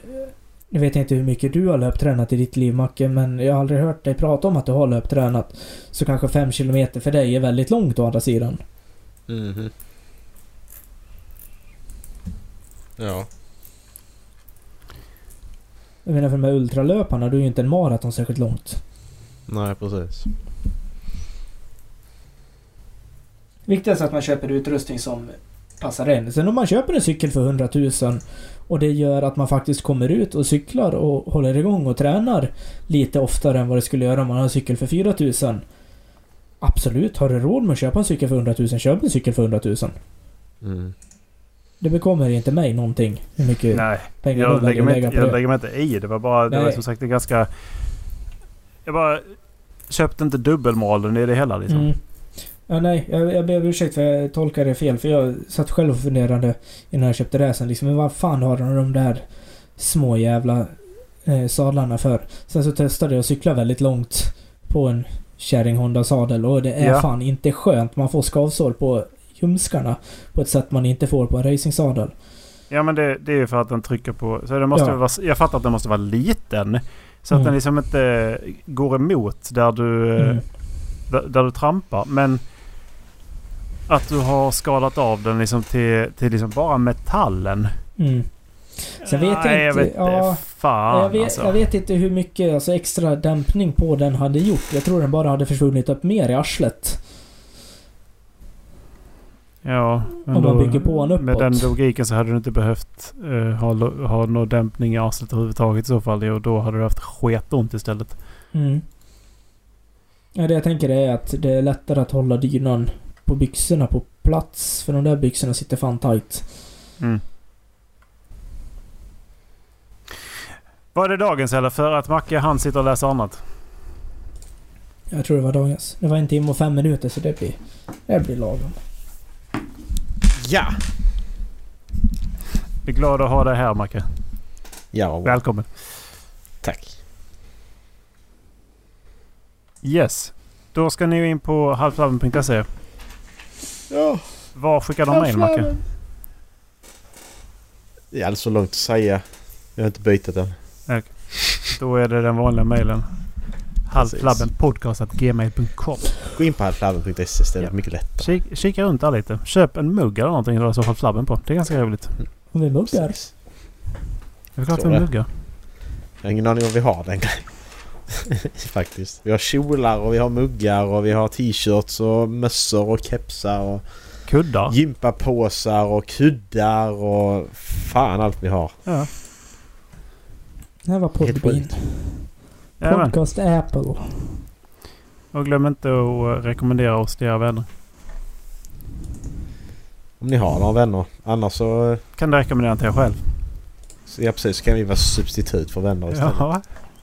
S3: Nu vet jag inte hur mycket du har löptränat i ditt liv Macke, men jag har aldrig hört dig prata om att du har löptränat. Så kanske 5 kilometer för dig är väldigt långt å andra sidan.
S2: Mhm. Ja.
S3: Jag menar för de här ultralöparna, då är ju inte en maraton särskilt långt.
S2: Nej precis.
S3: Viktigast är att man köper utrustning som passar en. Sen om man köper en cykel för 100 000 och det gör att man faktiskt kommer ut och cyklar och håller igång och tränar lite oftare än vad det skulle göra om man har en cykel för 4 000. Absolut, har du råd med att köpa en cykel för 100 000, köp en cykel för 100 000.
S2: Mm.
S3: Det bekommer inte mig någonting hur mycket
S1: Nej,
S3: pengar
S1: jag
S3: jag
S1: lägger,
S3: väljer att
S1: mig
S3: lägga
S1: inte,
S3: på
S1: jag
S3: det.
S1: lägger mig inte i. Det var bara, det var
S3: Nej.
S1: som sagt en ganska... Jag bara köpte inte dubbelmoralen i det hela liksom.
S3: Mm. Ja, nej, jag, jag ber om ursäkt för jag tolkade det fel. För jag satt själv och funderade innan jag köpte räsen. Liksom, men vad fan har de de där små jävla eh, sadlarna för? Sen så testade jag att cykla väldigt långt på en kärring Honda sadel och det är
S1: Ja.
S3: fan inte skönt. Man får skavsår på ljumskarna på ett sätt man inte får på en racingsadel.
S1: Ja, men det, det är ju för att den trycker på... Så det måste
S3: Ja.
S1: vara, jag fattar att den måste vara liten. Så att
S3: Mm.
S1: den liksom inte går emot där du, eh,
S3: Mm.
S1: där, där du trampar. Men att du har skalat av den liksom till, till liksom bara metallen.
S3: Mm. Sen vet jag
S1: Nej, jag
S3: inte-
S1: vet inte.
S3: ja.
S1: fan
S3: jag, vet,
S1: alltså.
S3: jag vet inte hur mycket alltså, extra dämpning på den hade gjort. Jag tror den bara hade försvunnit upp mer i arslet.
S1: Ja, men
S3: Om man bygger på en
S1: Med
S3: uppåt.
S1: den logiken så hade du inte behövt eh, ha, lo- ha någon dämpning i arslet överhuvudtaget i så fall. Och då hade du haft sketont istället.
S3: Mm. Ja, det jag tänker är att det är lättare att hålla dynan på byxorna på plats. För de där byxorna sitter fan tight.
S1: Mm. Vad är det dagens eller? För att Macke han sitter och läser annat.
S3: Jag tror det var dagens. Det var en timme och fem minuter så det blir... Det blir lagom.
S2: Ja!
S1: Vi är glada att ha dig här Macke.
S2: Ja,
S1: Välkommen.
S2: tack.
S1: Yes. Då ska ni ju in på halvflabben.se.
S2: Ja,
S1: Var skickar de mejl Macke?
S2: det är alldeles för långt att säga. Jag har inte bytt den.
S1: Då är det den vanliga mejlen. Halvflabbenpodcast.gmail.com
S2: Gå in på halvflabben.se istället.
S1: Ja.
S2: Mycket lättare.
S1: Kik, Kika runt där lite. Köp en mugg eller någonting där det står Halvflabben på. Det är ganska roligt.
S3: Om vi muggar.
S2: Precis.
S1: Det är klart
S2: Tror
S1: vi har
S2: det.
S1: muggar.
S2: Jag har ingen aning om vi har den *laughs* Faktiskt. Vi har kjolar och vi har muggar och vi har t-shirts och mössor och kepsar och
S1: Kuddar.
S2: gympapåsar och kuddar och fan allt vi har.
S1: Ja.
S3: Det här var
S2: Helt
S3: Podbean.
S1: Jajamän.
S3: Podcast Apple.
S1: Och glöm inte att eh, rekommendera oss till era vänner.
S2: Om ni har några vänner. Annars så... eh,
S1: Kan du rekommendera till er själv?
S2: så ja precis, så kan vi vara substitut för vänner istället.
S1: Ja.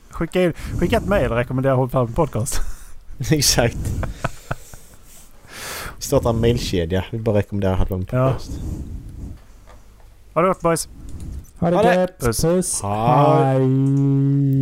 S1: Skicka, in, skicka ett mejl och rekommendera Hållpalmen Podcast.
S2: *laughs* Exakt. Vi startar en mailkedja. Vi bara rekommenderar Hallon
S1: Ja.
S2: Podcast.
S1: Ha det gott boys!
S3: Ha det
S2: Ha det.
S3: gött!
S1: Puss.
S3: Puss!
S2: Ha-
S3: Hej!